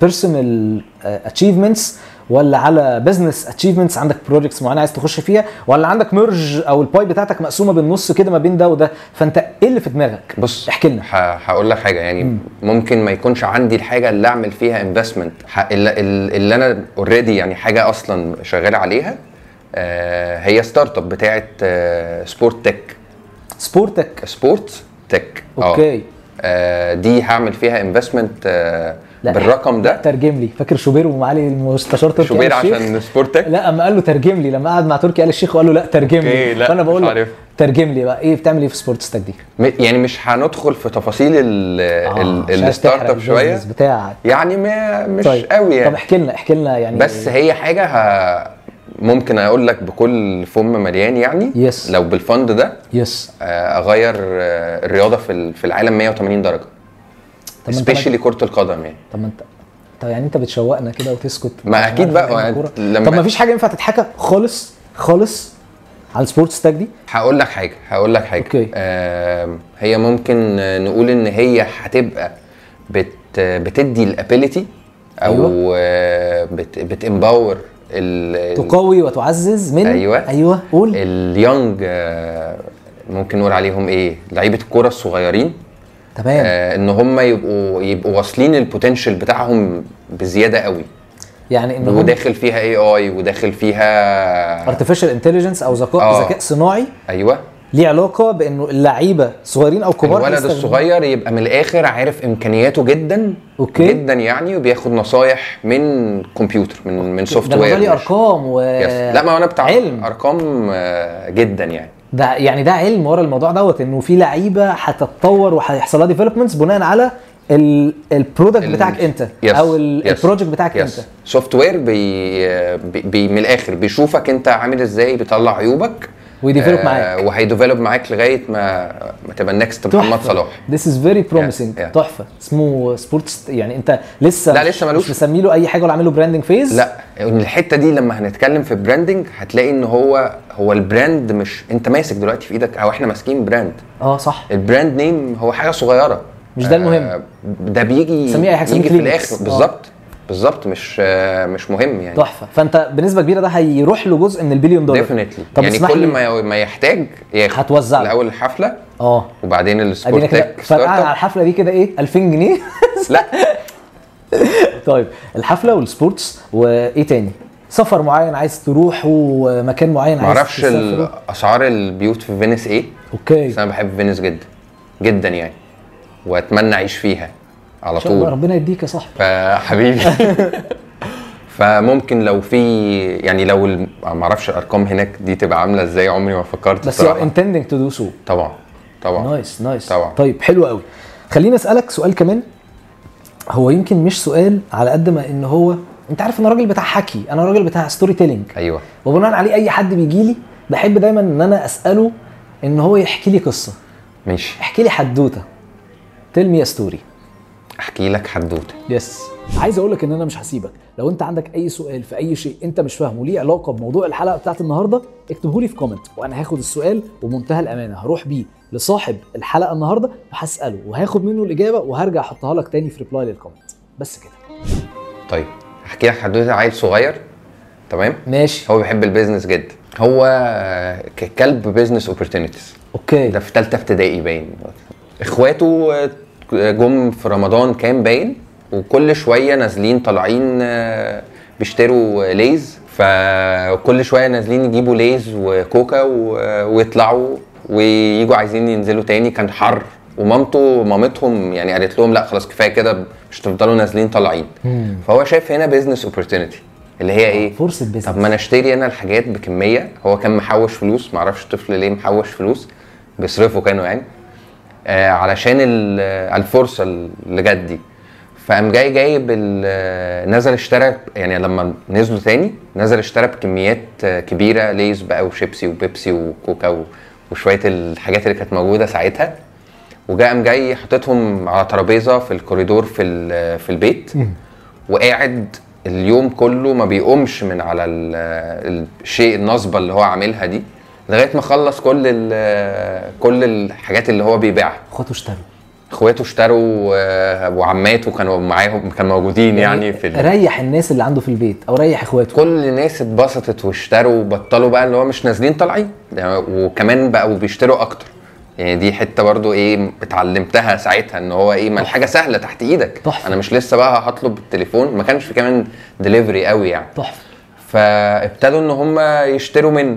Speaker 1: بيرسونال اتشيفمنتس ولا على بزنس اتشيفمنتس عندك بروجكتس معينه عايز تخش فيها ولا عندك ميرج او الباي بتاعتك مقسومه بالنص كده ما بين ده وده فانت ايه اللي في دماغك؟
Speaker 2: بص
Speaker 1: احكي لنا
Speaker 2: ه- هقول لك حاجه يعني ممكن ما يكونش عندي الحاجه اللي اعمل فيها انفستمنت اللي, اللي انا اوريدي يعني حاجه اصلا شغال عليها آه، هي آه، ستارت اب بتاعه سبورت تك
Speaker 1: سبورتك
Speaker 2: سبورت تك
Speaker 1: اوكي
Speaker 2: آه، دي هعمل فيها انفستمنت
Speaker 1: لا.
Speaker 2: بالرقم ده
Speaker 1: ترجم لي فاكر شوبير ومعالي المستشار تركي آل
Speaker 2: شوبير
Speaker 1: الشيخ؟
Speaker 2: عشان سبورت تك
Speaker 1: لا اما قال له ترجم لي لما قعد مع تركي آل الشيخ وقال له لا ترجم لي
Speaker 2: اوكي، لا،
Speaker 1: فانا
Speaker 2: مش
Speaker 1: بقول لك
Speaker 2: عارف.
Speaker 1: ترجم لي بقى ايه بتعمل ايه في سبورتستك دي؟
Speaker 2: يعني مش هندخل في تفاصيل ال-
Speaker 1: آه،
Speaker 2: ال-
Speaker 1: عشان
Speaker 2: الستارت
Speaker 1: تحرق
Speaker 2: اب شويه
Speaker 1: البيزنس بتاعك
Speaker 2: يعني ما مش
Speaker 1: طيب.
Speaker 2: قوي يعني
Speaker 1: طب احكي لنا احكي لنا يعني
Speaker 2: بس هي حاجه ه... ممكن اقول لك بكل فم مليان يعني
Speaker 1: Yes.
Speaker 2: لو بالفند ده
Speaker 1: يس
Speaker 2: آه، اغير آه، الرياضه في ال- في العالم 180 درجه
Speaker 1: طب ما انت ما-
Speaker 2: سبيشالي كره القدم يعني
Speaker 1: طب ما انت طب يعني انت بتشوقنا كده وتسكت
Speaker 2: ما اكيد بقى
Speaker 1: عن
Speaker 2: ما
Speaker 1: الكورة.
Speaker 2: لما-
Speaker 1: طب ما فيش حاجه ينفع تتحكى خالص خالص عن سبورتس تاج دي
Speaker 2: هقول لك حاجه هقول لك حاجه
Speaker 1: أوكي.
Speaker 2: آم، هي ممكن نقول ان هي هتبقى بت بتدي الابيليتي او
Speaker 1: أيوة.
Speaker 2: آه، بت بتمباور ال
Speaker 1: تقوي وتعزز من
Speaker 2: أيوة.
Speaker 1: ايوه قول
Speaker 2: اليونج آه، ممكن نقول عليهم ايه لعيبه الكوره الصغيرين
Speaker 1: تمام
Speaker 2: آه، ان هم يبقوا يبقوا واصلين البوتنشال بتاعهم بزياده قوي
Speaker 1: يعني ان هم
Speaker 2: وداخل فيها اي اي وداخل فيها
Speaker 1: ارتفيشال انتليجنس او ذكاء
Speaker 2: آه.
Speaker 1: ذكاء صناعي
Speaker 2: ايوه
Speaker 1: ليه علاقه بانه اللعيبه صغيرين او كبار
Speaker 2: الولد
Speaker 1: هيستخدموا-
Speaker 2: الصغير يبقى من الاخر عارف امكانياته جدا
Speaker 1: أوكي.
Speaker 2: جدا يعني وبياخد نصايح من كمبيوتر من من سوفت
Speaker 1: ده
Speaker 2: وير
Speaker 1: موضوع لي ارقام و
Speaker 2: لا ما هو انا بتاع
Speaker 1: علم.
Speaker 2: ارقام آه، جدا يعني
Speaker 1: ده يعني ده علم ورا الموضوع دوت انه في لعيبه هتتطور وهيحصل لها ديفلوبمنتس بناء على البرودكت
Speaker 2: ال-
Speaker 1: بتاعك انت
Speaker 2: Yes.
Speaker 1: او ال-
Speaker 2: Yes.
Speaker 1: البروجكت بتاعك
Speaker 2: يس
Speaker 1: انت
Speaker 2: سوفت وير بي... بي... بي من الاخر بيشوفك انت عامل ازاي بيطلع عيوبك
Speaker 1: ويديفلوب معاك.
Speaker 2: وهيديفلوب معاك لغايه ما ما تبقى النكست محمد صلاح
Speaker 1: This is very promising
Speaker 2: Yeah, yeah.
Speaker 1: تحفه اسمه سبورتس يعني انت لسه
Speaker 2: لا،
Speaker 1: مش-
Speaker 2: لسه ملوش.
Speaker 1: مش مسمي له اي حاجه ولا عامل له براندنج فيز
Speaker 2: لا الحته دي لما هنتكلم في براندنج هتلاقي ان هو هو البراند مش انت ماسك دلوقتي في ايدك او احنا ماسكين براند
Speaker 1: اه صح
Speaker 2: البراند نيم هو حاجه صغيره
Speaker 1: مش ده المهم.
Speaker 2: آه، ده بيجي
Speaker 1: سميه أي حاجة، سميه
Speaker 2: يجي في
Speaker 1: كلينكس. آه.
Speaker 2: الاخر بالظبط بالظبط مش آه، مش مهم يعني
Speaker 1: تحفه فانت بنسبه كبيره ده هيروح له جزء من البليون دولار
Speaker 2: ديفينتلي
Speaker 1: طب
Speaker 2: يعني
Speaker 1: اسمح
Speaker 2: كل
Speaker 1: لي-
Speaker 2: ما ما يحتاج ياخد
Speaker 1: هتوزع له.
Speaker 2: الاول الحفله
Speaker 1: اه
Speaker 2: وبعدين السبورت
Speaker 1: ادينا كده
Speaker 2: تك ستارت
Speaker 1: فقعد على
Speaker 2: اب
Speaker 1: الحفله دي كده ايه 2000 جنيه
Speaker 2: لا
Speaker 1: طيب الحفله والسبورتس وايه تاني سفر معين عايز تروحه مكان معين عايز
Speaker 2: معرفش
Speaker 1: تسافره؟
Speaker 2: ال- اسعار البيوت في فينيس ايه
Speaker 1: اوكي
Speaker 2: بس انا بحب فينيس جدا جدا يعني واتمنى اعيش فيها على
Speaker 1: ان شاء الله
Speaker 2: طول
Speaker 1: ربنا يديك يا صاحبي
Speaker 2: فحبيبي فممكن لو في يعني لو الم- ما اعرفش الارقام هناك دي تبقى عامله ازاي عمري ما فكرت
Speaker 1: بس
Speaker 2: بصراحة.
Speaker 1: you're intending to do so
Speaker 2: طبعا طبعا
Speaker 1: نايس نايس
Speaker 2: طبعا.
Speaker 1: طيب حلو قوي خليني اسالك سؤال كمان هو يمكن مش سؤال على قد ما ان هو انت عارف انا راجل بتاع حكي انا راجل بتاع ستوري تيلينج
Speaker 2: ايوه
Speaker 1: وبناء عليه اي حد بيجي لي بحب دايما ان انا اساله ان هو يحكي لي قصه
Speaker 2: ماشي
Speaker 1: احكي لي حدوته تيل مي ستوري
Speaker 2: احكي لك حدوته
Speaker 1: يس عايز اقول لك ان انا مش هسيبك لو انت عندك اي سؤال في اي شيء انت مش فاهمه ليه علاقه بموضوع الحلقه بتاعت النهارده اكتبه لي في كومنت وانا هاخد السؤال ومنتهى الامانه هروح بيه لصاحب الحلقه النهارده وهساله وهاخد منه الاجابه وهرجع احطها لك تاني في ريبلاي للكومنت بس كده
Speaker 2: طيب احكي لك حدوته عيل صغير تمام
Speaker 1: ماشي
Speaker 2: هو بيحب البيزنس جدا هو ك- كلب بيزنس اوبورتونيتيز
Speaker 1: اوكي
Speaker 2: ده في ثالثه ابتدائي باين اخواته آه، جم في رمضان كان باين وكل شويه نازلين طالعين آه، بيشتروا آه، ليز فكل شويه نازلين يجيبوا ليز وكوكا و- ويطلعوا ويجوا عايزين ينزلوا تاني كان حر ومامته مامتهم يعني قالت لهم لا خلاص كفايه كده مش تفضلوا نازلين طالعين فهو شايف هنا بيزنس اوبورتونيتي اللي هي ايه
Speaker 1: فرصه بيزنس
Speaker 2: طب ما انا اشتري انا الحاجات بكميه هو كان محوش فلوس معرفش الطفل ليه محوش فلوس بيصرفوا كانوا يعني آه علشان ال- آه، الفرصه اللي جت دي فقام جاي جايب ال- آه، نزل اشترى يعني لما نزلوا تاني نزل اشترى بكميات آه، كبيره ليز بقى وشيبسي وبيبسي وكوكا و- وشويه الحاجات اللي كانت موجوده ساعتها وجاء قام جاي حاططهم على ترابيزه في الكوريدور في ال- في البيت وقاعد اليوم كله ما بيقومش من على ال- الشيء النصبه اللي هو عاملها دي لغايه ما خلص كل ال- كل الحاجات اللي هو بيبيعها
Speaker 1: اخواته اشتروا
Speaker 2: اخواته اشتروا آه، وعماته كانوا معاهم كانوا موجودين يعني في ال...
Speaker 1: ريح الناس اللي عنده في البيت او ريح اخواته
Speaker 2: كل الناس اتبسطت واشتروا وبطلوا بقى اللي هو مش نازلين طالعين ده وكمان بقوا بيشتروا اكتر يعني دي حته برضو ايه اتعلمتها ساعتها ان هو ايه ما الحاجه سهله تحت ايدك
Speaker 1: تحفة.
Speaker 2: انا مش لسه بقى هطلب بالتليفون ما كانش في كمان دليفري قوي يعني
Speaker 1: تحفه
Speaker 2: فابتدوا ان هم يشتروا منه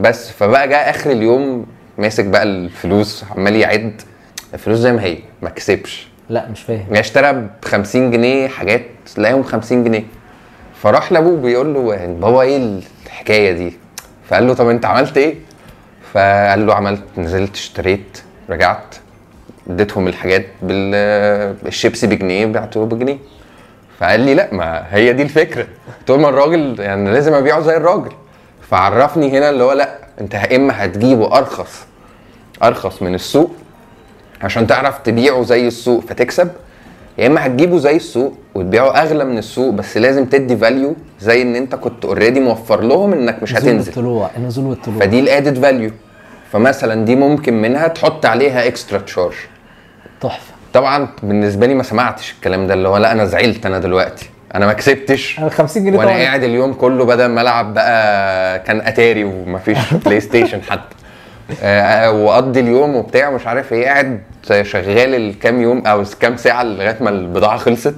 Speaker 2: بس فبقى جاء اخر اليوم ماسك بقى الفلوس عمال يعد الفلوس زي ما هي ما كسبش
Speaker 1: لا مش فاهم
Speaker 2: يعني اشترى ب 50 جنيه حاجات لقاهم 50 جنيه فراح لابوه بيقول له يعني بابا ايه الحكايه دي فقال له طب انت عملت ايه فقال له عملت نزلت اشتريت رجعت اديتهم الحاجات بالشيبسي بجنيه بعته بجنيه فقال لي لا ما هي دي الفكره طول ما الراجل يعني لازم ابيعه زي الراجل فعرفني هنا اللي هو لا انت يا اما هتجيبه ارخص ارخص من السوق عشان تعرف تبيعه زي السوق فتكسب يا اما هتجيبه زي السوق وتبيعه اغلى من السوق بس لازم تدي فاليو زي ان انت كنت اوريدي موفر لهم انك مش
Speaker 1: النزول
Speaker 2: هتنزل
Speaker 1: والطلوع النزول والطلوع
Speaker 2: فدي الادد فاليو فمثلا دي ممكن منها تحط عليها اكسترا تشارج
Speaker 1: تحفه
Speaker 2: طبعا بالنسبه لي ما سمعتش الكلام ده اللي هو لا انا زعلت انا دلوقتي انا ما كسبتش
Speaker 1: انا 50 جنيه
Speaker 2: وانا
Speaker 1: طبعا
Speaker 2: قاعد اليوم كله بدل ما العب بقى كان اتاري ومفيش بلاي ستيشن حتى آه، واقضي اليوم وبتاع ومش عارف ايه قاعد شغال الكام يوم او كام ساعه لغايه ما البضاعه خلصت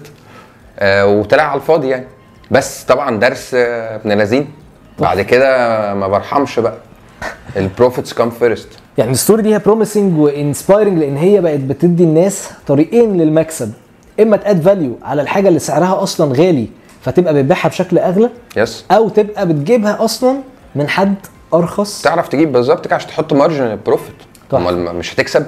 Speaker 2: آه، وطلع على الفاضي يعني بس طبعا درس آه، ابن لذين بعد كده ما برحمش بقى البروفيتس كام فيرست
Speaker 1: يعني الستوري دي هي بروميسنج وانسبايرنج لان هي بقت بتدي الناس طريقين للمكسب اما تاد فاليو على الحاجه اللي سعرها اصلا غالي فتبقى بتبيعها بشكل اغلى
Speaker 2: يس
Speaker 1: او تبقى بتجيبها اصلا من حد ارخص
Speaker 2: تعرف تجيب بالظبط كده عشان تحط مارجن البروفيت
Speaker 1: طبعا.
Speaker 2: امال ما- مش هتكسب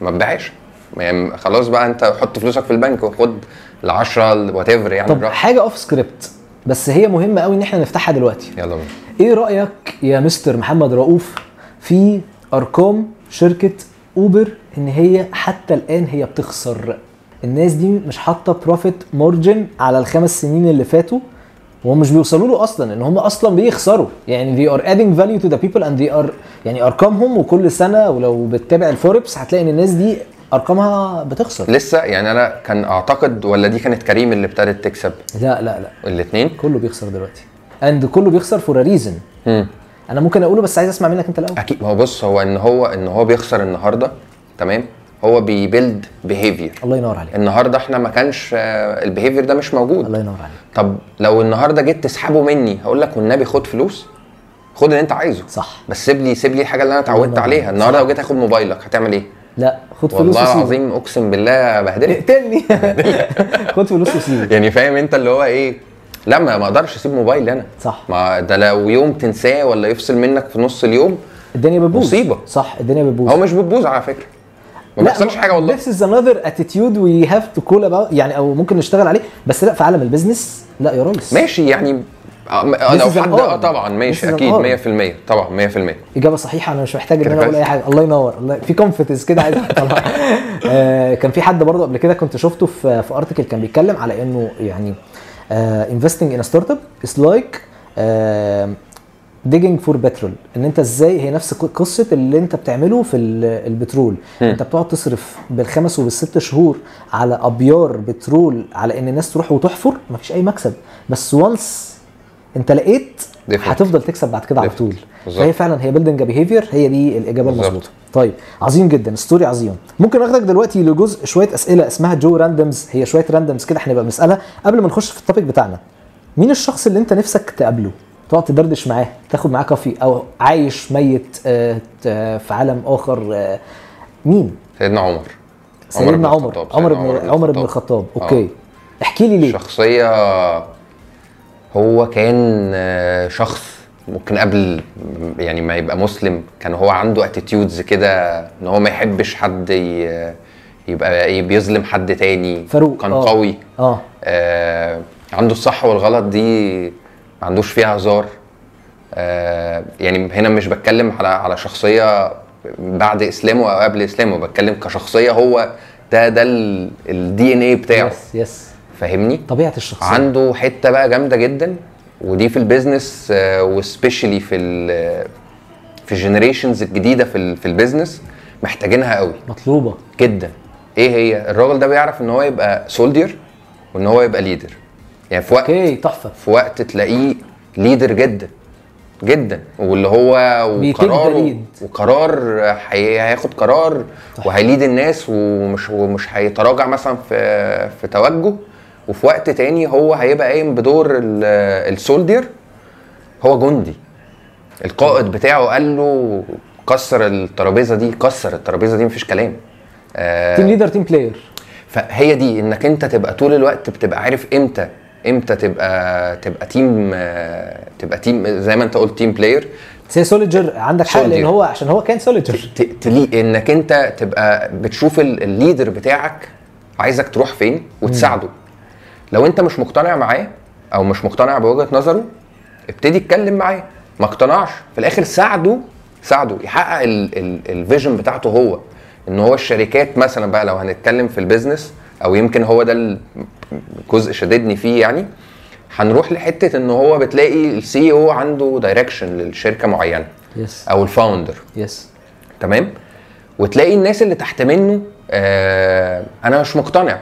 Speaker 2: ما تبيعش يعني خلاص بقى انت حط فلوسك في البنك وخد ال 10 وات ايفر يعني
Speaker 1: طب
Speaker 2: براحتك.
Speaker 1: حاجه اوف سكريبت بس هي مهمه قوي ان احنا نفتحها دلوقتي
Speaker 2: يلا بينا
Speaker 1: ايه رايك يا مستر محمد رؤوف في ارقام شركه اوبر ان هي حتى الان هي بتخسر الناس دي مش حاطه بروفيت مارجن على الخمس سنين اللي فاتوا وهم مش بيوصلوا له اصلا ان هم اصلا بيخسروا يعني they are adding value to the people and they are يعني ارقامهم وكل سنه ولو بتتابع الفوربس هتلاقي ان الناس دي ارقامها بتخسر
Speaker 2: لسه يعني انا كان اعتقد ولا دي كانت كريم اللي ابتدت تكسب
Speaker 1: لا لا لا
Speaker 2: الاثنين
Speaker 1: كله بيخسر دلوقتي اند كله بيخسر فور ريزن انا ممكن اقوله بس عايز اسمع منك انت الاول
Speaker 2: اكيد ما هو بص هو ان هو ان هو بيخسر النهارده تمام هو بيبيلد بيهيفير
Speaker 1: الله ينور عليك
Speaker 2: النهارده احنا ما كانش آه، البيهيفير ده مش موجود
Speaker 1: الله ينور عليك
Speaker 2: طب لو النهارده جيت تسحبه مني هقول لك والنبي خد فلوس خد اللي انت عايزه
Speaker 1: صح
Speaker 2: بس سيب لي سيب لي الحاجه اللي انا اتعودت
Speaker 1: والله.
Speaker 2: عليها النهارده لو جيت اخد موبايلك هتعمل ايه
Speaker 1: لا خد فلوس
Speaker 2: والله
Speaker 1: وسيبه.
Speaker 2: العظيم اقسم بالله بهدلك
Speaker 1: اقتلني خد فلوس وسيبه
Speaker 2: يعني فاهم انت اللي هو ايه لا ما ما اقدرش اسيب موبايلي انا
Speaker 1: صح
Speaker 2: ما ده لو يوم تنساه ولا يفصل منك في نص اليوم
Speaker 1: الدنيا بتبوظ
Speaker 2: مصيبة.
Speaker 1: صح الدنيا بتبوظ
Speaker 2: هو مش بتبوظ على فكره
Speaker 1: لا،
Speaker 2: ما بيحصلش حاجه والله
Speaker 1: This is another attitude we have to call about يعني او ممكن نشتغل عليه بس لا في عالم البيزنس لا يا ريس
Speaker 2: ماشي يعني آه،
Speaker 1: This
Speaker 2: لو
Speaker 1: is an
Speaker 2: حد اه
Speaker 1: art.
Speaker 2: طبعا ماشي
Speaker 1: This is an
Speaker 2: اكيد
Speaker 1: art.
Speaker 2: 100% طبعا 100%
Speaker 1: اجابه صحيحه انا مش محتاج ان انا
Speaker 2: كرفس.
Speaker 1: اقول اي حاجه الله ينور الله في كونفيدنس كده عايز اطلع آه كان في حد برضه قبل كده كنت شفته في في ارتكل كان بيتكلم على انه يعني انفستنج ان ستارت اب از لايك آه، digging فور بترول ان انت ازاي هي نفس ق- قصه اللي انت بتعمله في ال- البترول انت بتقعد تصرف بالخمس وبالست شهور على ابيار بترول على ان الناس تروح وتحفر مفيش اي مكسب بس وانس انت لقيت
Speaker 2: Different.
Speaker 1: هتفضل تكسب بعد كده على
Speaker 2: Different.
Speaker 1: طول
Speaker 2: بالظبط.
Speaker 1: فهي فعلا هي بيلدنج بيهيفير هي دي الاجابه
Speaker 2: بالظبط.
Speaker 1: المظبوطه طيب عظيم جدا ستوري عظيم ممكن اخدك دلوقتي لجزء شويه اسئله اسمها جو راندمز هي شويه راندمز كده احنا نبقى بنسالها قبل ما نخش في التوبيك بتاعنا مين الشخص اللي انت نفسك تقابله تقعد تدردش معاه تاخد معاه كافي او عايش ميت آه، ت- آه، في عالم اخر آه، مين
Speaker 2: سيدنا عمر
Speaker 1: سيدنا عمر
Speaker 2: الخطاب،
Speaker 1: عمر
Speaker 2: سيدنا
Speaker 1: بن عمر بن الخطاب
Speaker 2: آه.
Speaker 1: اوكي احكي لي ليه
Speaker 2: شخصية هو كان آه، شخص ممكن قبل يعني ما يبقى مسلم كان هو عنده اتيتيودز كده ان هو ما يحبش حد ي- يبقى إيه بيظلم حد تاني
Speaker 1: فاروق،
Speaker 2: كان
Speaker 1: آه.
Speaker 2: قوي
Speaker 1: اه
Speaker 2: آه عنده الصح والغلط دي ما عندوش فيها هزار آه يعني هنا مش بتكلم على على شخصيه بعد اسلامه او قبل اسلامه بتكلم كشخصيه هو ده ده الدي ان اي بتاعه
Speaker 1: يس يس
Speaker 2: فاهمني
Speaker 1: طبيعه الشخصيه
Speaker 2: عنده حته بقى جامده جدا ودي في البيزنس آه، وسبيشالي في ال في الجنريشنز الجديده في ال- في البيزنس محتاجينها قوي
Speaker 1: مطلوبه
Speaker 2: جدا ايه هي الراجل ده بيعرف ان هو يبقى سولدير وان هو يبقى ليدر يعني في وقت
Speaker 1: اوكي تحفه
Speaker 2: في وقت تلاقيه ليدر جدا جدا واللي هو
Speaker 1: بيتيك the
Speaker 2: وقراره
Speaker 1: lead.
Speaker 2: وقرار هي- هياخد قرار وهيليد الناس ومش ومش هيتراجع مثلا في في توجه وفي وقت تاني هو هيبقى قايم بدور ال- السولدير هو جندي القائد بتاعه قال له كسر الترابيزه دي كسر الترابيزه دي مفيش كلام آه،
Speaker 1: تيم ليدر تيم بلاير
Speaker 2: فهي دي انك انت تبقى طول الوقت بتبقى عارف امتى امتى تبقى تبقى تيم آه، تبقى تيم زي ما انت قلت تيم بلاير
Speaker 1: سي سوليجر عندك حق لان
Speaker 2: Soldier.
Speaker 1: هو عشان هو كان سوليجر
Speaker 2: تلي انك انت تبقى بتشوف ال- الليدر بتاعك عايزك تروح فين وتساعده لو انت مش مقتنع معاه او مش مقتنع بوجهه نظره ابتدي اتكلم معاه ما اقتنعش في الاخر ساعده ساعده يحقق الفيجن بتاعته هو ان هو الشركات مثلا بقى لو هنتكلم في البيزنس او يمكن هو ده الجزء شددني فيه يعني هنروح لحته ان هو بتلاقي السي او عنده دايركشن للشركه معينه
Speaker 1: يس
Speaker 2: او الفاوندر
Speaker 1: يس
Speaker 2: تمام وتلاقي الناس اللي تحت منه آه انا مش مقتنع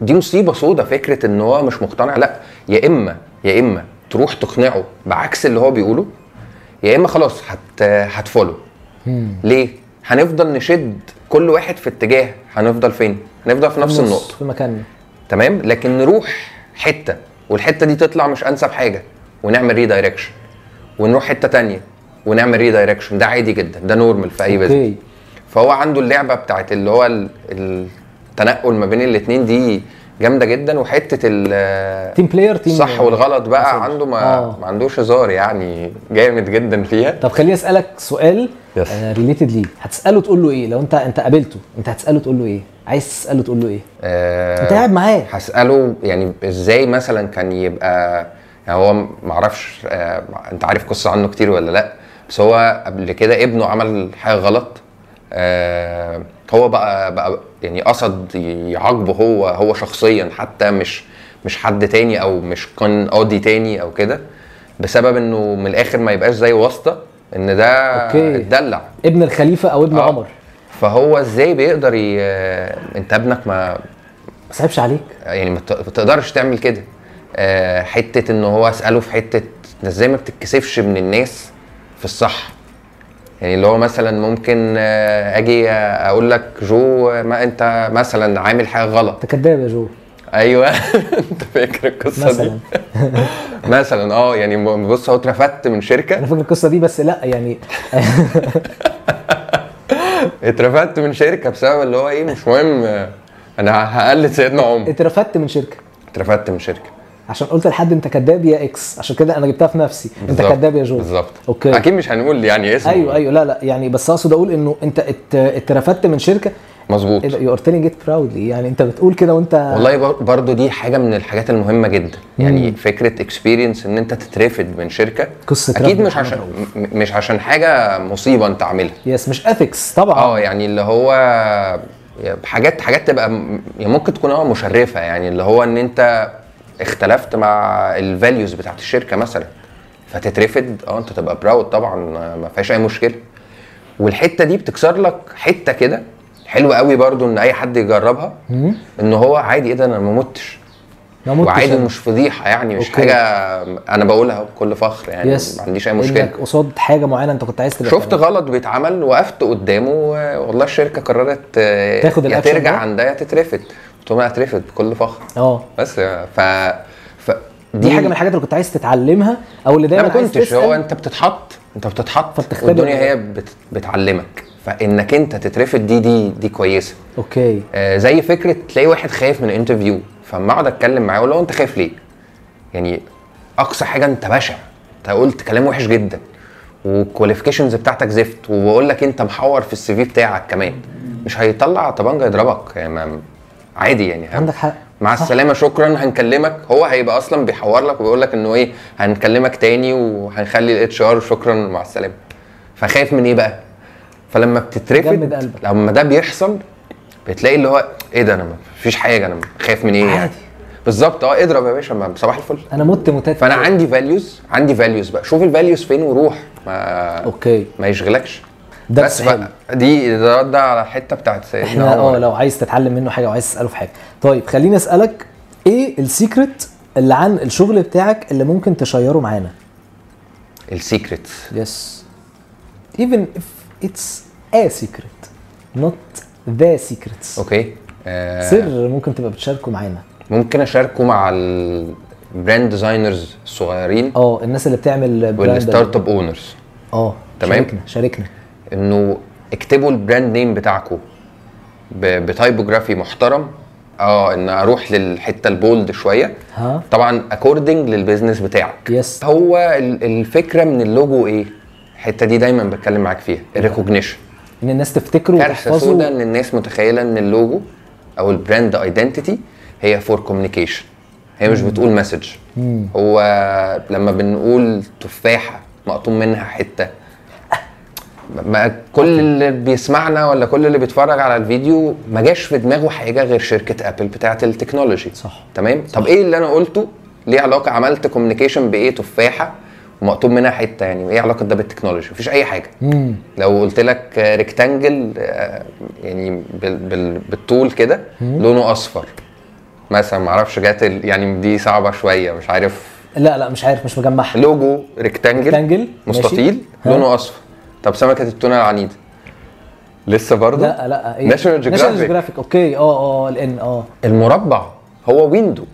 Speaker 2: دي مصيبه سودا فكره ان هو مش مقتنع لا يا اما يا اما تروح تقنعه بعكس اللي هو بيقوله يا اما خلاص هت هتفولو ليه هنفضل نشد كل واحد في اتجاه هنفضل فين هنفضل في نفس النقطه
Speaker 1: في مكاننا
Speaker 2: تمام لكن نروح حته والحته دي تطلع مش انسب حاجه ونعمل ريدايركشن ونروح حته تانية ونعمل ريدايركشن ده عادي جدا ده نورمال في اي بزنس
Speaker 1: اوكي
Speaker 2: فهو عنده اللعبه بتاعت اللي هو ال- التنقل ما بين الاتنين دي جامده جدا وحته ال-
Speaker 1: تيم بلاير تيم
Speaker 2: الصح والغلط بقى
Speaker 1: مصر.
Speaker 2: عنده ما,
Speaker 1: آه.
Speaker 2: ما عندوش هزار يعني جامد جدا فيها
Speaker 1: طب خليني اسالك سؤال
Speaker 2: يس.
Speaker 1: ريليتد ليه هتساله تقول له ايه لو انت انت قابلته انت هتساله تقول له ايه عايز تساله تقول له ايه
Speaker 2: آه،
Speaker 1: انت قاعد معاه
Speaker 2: هساله يعني ازاي مثلا كان يبقى يعني هو ما اعرفش آه، انت عارف قصه عنه كتير ولا لا بس هو قبل كده ابنه عمل حاجه غلط آه، هو بقى بقى يعني قصد يعاقبه هو هو شخصيا حتى مش مش حد تاني او مش كان قاضي تاني او كده بسبب انه من الاخر ما يبقاش زي واسطه ان ده
Speaker 1: أوكي.
Speaker 2: اتدلع
Speaker 1: ابن الخليفه او ابن
Speaker 2: آه.
Speaker 1: عمر
Speaker 2: فهو ازاي بيقدر ي... انت ابنك ما
Speaker 1: ما صعبش عليك
Speaker 2: يعني ما ت- ما تقدرش تعمل كده آه، حته ان هو اساله في حته إنت ازاي ما بتتكسفش من الناس في الصح يعني اللي هو مثلا ممكن آه، اجي اقول لك جو ما انت مثلا عامل حاجه غلط
Speaker 1: انت كداب يا جو
Speaker 2: ايوه انت فاكر القصه دي
Speaker 1: مثلا
Speaker 2: مثلا اه يعني م- بص هو اترفدت من شركه
Speaker 1: انا فاكر القصه دي بس لا يعني
Speaker 2: اترفدت من شركه بسبب اللي هو ايه مش مهم آه، انا هقلد سيدنا عمر
Speaker 1: اترفدت من شركه
Speaker 2: اترفدت من شركه
Speaker 1: عشان قلت لحد انت كداب يا اكس عشان كده انا جبتها في نفسي انت
Speaker 2: بالظبط،
Speaker 1: كداب يا جو
Speaker 2: بالظبط
Speaker 1: اوكي
Speaker 2: اكيد مش هنقول يعني اسمه
Speaker 1: ايوه ايوه لا لا يعني بس اقصد اقول انه انت ات- اترفدت من شركه
Speaker 2: مظبوط
Speaker 1: يو ار تيلينج ات براودلي يعني انت بتقول كده وانت
Speaker 2: والله بر- برضو دي حاجه من الحاجات المهمه جدا يعني فكره اكسبيرينس ان انت تترفد من شركه
Speaker 1: قصة
Speaker 2: اكيد
Speaker 1: رب
Speaker 2: مش
Speaker 1: محمد
Speaker 2: عشان
Speaker 1: رؤوف.
Speaker 2: م- مش عشان حاجه مصيبه انت عاملها
Speaker 1: يس مش اثكس طبعا
Speaker 2: اه يعني اللي هو حاجات حاجات تبقى م- يعني ممكن تكون اه مشرفه يعني اللي هو ان انت اختلفت مع الفاليوز بتاعت الشركه مثلا فتترفد اه انت تبقى براود طبعا ما فيهاش اي مشكله والحته دي بتكسر لك حته كده حلوه قوي برضو ان اي حد يجربها ان هو عادي ايه ده انا ما متش
Speaker 1: ما متش
Speaker 2: وعادي
Speaker 1: يعني.
Speaker 2: مش فضيحه يعني مش
Speaker 1: أوكي.
Speaker 2: حاجه انا بقولها بكل فخر يعني
Speaker 1: يس
Speaker 2: ما عنديش اي مشكله
Speaker 1: انك قصاد حاجه معينه انت كنت عايز تبقى
Speaker 2: شفت
Speaker 1: تعملها.
Speaker 2: غلط بيتعمل وقفت قدامه و- والله الشركه قررت آه،
Speaker 1: تاخد
Speaker 2: يا
Speaker 1: الأكشن
Speaker 2: ترجع
Speaker 1: ده؟
Speaker 2: عن ده يا تترفد قلت لهم أنا هترفد بكل فخر
Speaker 1: اه
Speaker 2: بس آه، ف, ف...
Speaker 1: دي حاجه من الحاجات اللي كنت عايز تتعلمها او اللي
Speaker 2: لا
Speaker 1: دايما
Speaker 2: ما
Speaker 1: عايز
Speaker 2: كنتش
Speaker 1: تسأل.
Speaker 2: هو انت بتتحط انت بتتحط
Speaker 1: فبتختبر.
Speaker 2: والدنيا هي بت... بتعلمك فانك انت تترفد دي دي دي كويسه
Speaker 1: اوكي
Speaker 2: آه، زي فكره تلاقي واحد خايف من انترفيو فاما اقعد اتكلم معاه اقول له انت خايف ليه؟ يعني اقصى حاجه انت بشع انت قلت كلام وحش جدا والكواليفيكيشنز بتاعتك زفت وبقول لك انت محور في السي في بتاعك كمان مش هيطلع طبنجه يضربك يعني ما- عادي يعني
Speaker 1: عندك حق
Speaker 2: مع
Speaker 1: صح.
Speaker 2: السلامه شكرا هنكلمك هو هيبقى اصلا بيحور لك وبيقول لك انه ايه هنكلمك تاني وهنخلي الاتش ار شكرا مع السلامه فخايف من ايه بقى فلما
Speaker 1: جمد
Speaker 2: بتترفد
Speaker 1: قلبك.
Speaker 2: لما ده بيحصل بتلاقي اللي هو ايه ده انا ما فيش حاجه انا خايف من ايه يعني
Speaker 1: عادي.
Speaker 2: بالظبط اه اضرب يا باشا ما صباح الفل
Speaker 1: انا مت متات
Speaker 2: فانا عندي فاليوز عندي فاليوز بقى شوف الفاليوز فين وروح ما
Speaker 1: اوكي
Speaker 2: ما يشغلكش
Speaker 1: ده
Speaker 2: بس بقى دي ده رد على الحته بتاعت سيدنا
Speaker 1: احنا اه
Speaker 2: عمر
Speaker 1: لو عايز تتعلم منه حاجه وعايز تساله في حاجه طيب خليني اسالك ايه السيكريت اللي عن الشغل بتاعك اللي ممكن تشيره معانا
Speaker 2: السيكريتس
Speaker 1: يس even if it's a secret not the secrets
Speaker 2: اوكي آه،
Speaker 1: سر ممكن تبقى بتشاركه معانا
Speaker 2: ممكن اشاركه مع البراند ديزاينرز الصغيرين
Speaker 1: اه الناس اللي بتعمل براند
Speaker 2: والستارت اب اونرز
Speaker 1: اه
Speaker 2: تمام.
Speaker 1: شاركنا شاركنا
Speaker 2: انه اكتبوا البراند نيم بتاعكم ب- بتايبوجرافي محترم اه ان اروح للحته البولد شويه
Speaker 1: ها
Speaker 2: طبعا اكوردنج للبيزنس بتاعك
Speaker 1: يس
Speaker 2: هو ال- الفكره من اللوجو ايه الحته دي دايما بتكلم معاك فيها الريكوجنيشن
Speaker 1: ان الناس تفتكره
Speaker 2: كارثه سودا
Speaker 1: وتحفظه
Speaker 2: ان الناس متخيله ان اللوجو او البراند ايدنتيتي هي فور كوميونيكيشن هي مش بتقول مسج هو لما بنقول تفاحه مقطوم منها حته ما كل اللي بيسمعنا ولا كل اللي بيتفرج على الفيديو ما جاش في دماغه حاجه غير شركه ابل بتاعه التكنولوجي
Speaker 1: صح.
Speaker 2: تمام طب ايه اللي انا قلته ليه علاقه عملت كوميونيكيشن بايه تفاحه ومقطوم منها حته يعني ايه علاقه ده بالتكنولوجي مفيش اي حاجه
Speaker 1: مم.
Speaker 2: لو قلت لك ريكتانجل يعني بال بال بالطول كده لونه اصفر مثلا معرفش جات ال- يعني دي صعبه شويه مش عارف
Speaker 1: لا لا مش عارف مش مجمعها
Speaker 2: لوجو ريكتانجل
Speaker 1: ريكتانجل
Speaker 2: مستطيل
Speaker 1: ها.
Speaker 2: لونه اصفر طب سمكه التونه العنيده لسه برضه
Speaker 1: لا لا ايه
Speaker 2: ناشونال
Speaker 1: ناشونال
Speaker 2: جيوغرافيك
Speaker 1: جيوغرافيك اوكي اه اه الان اه
Speaker 2: المربع هو ويندو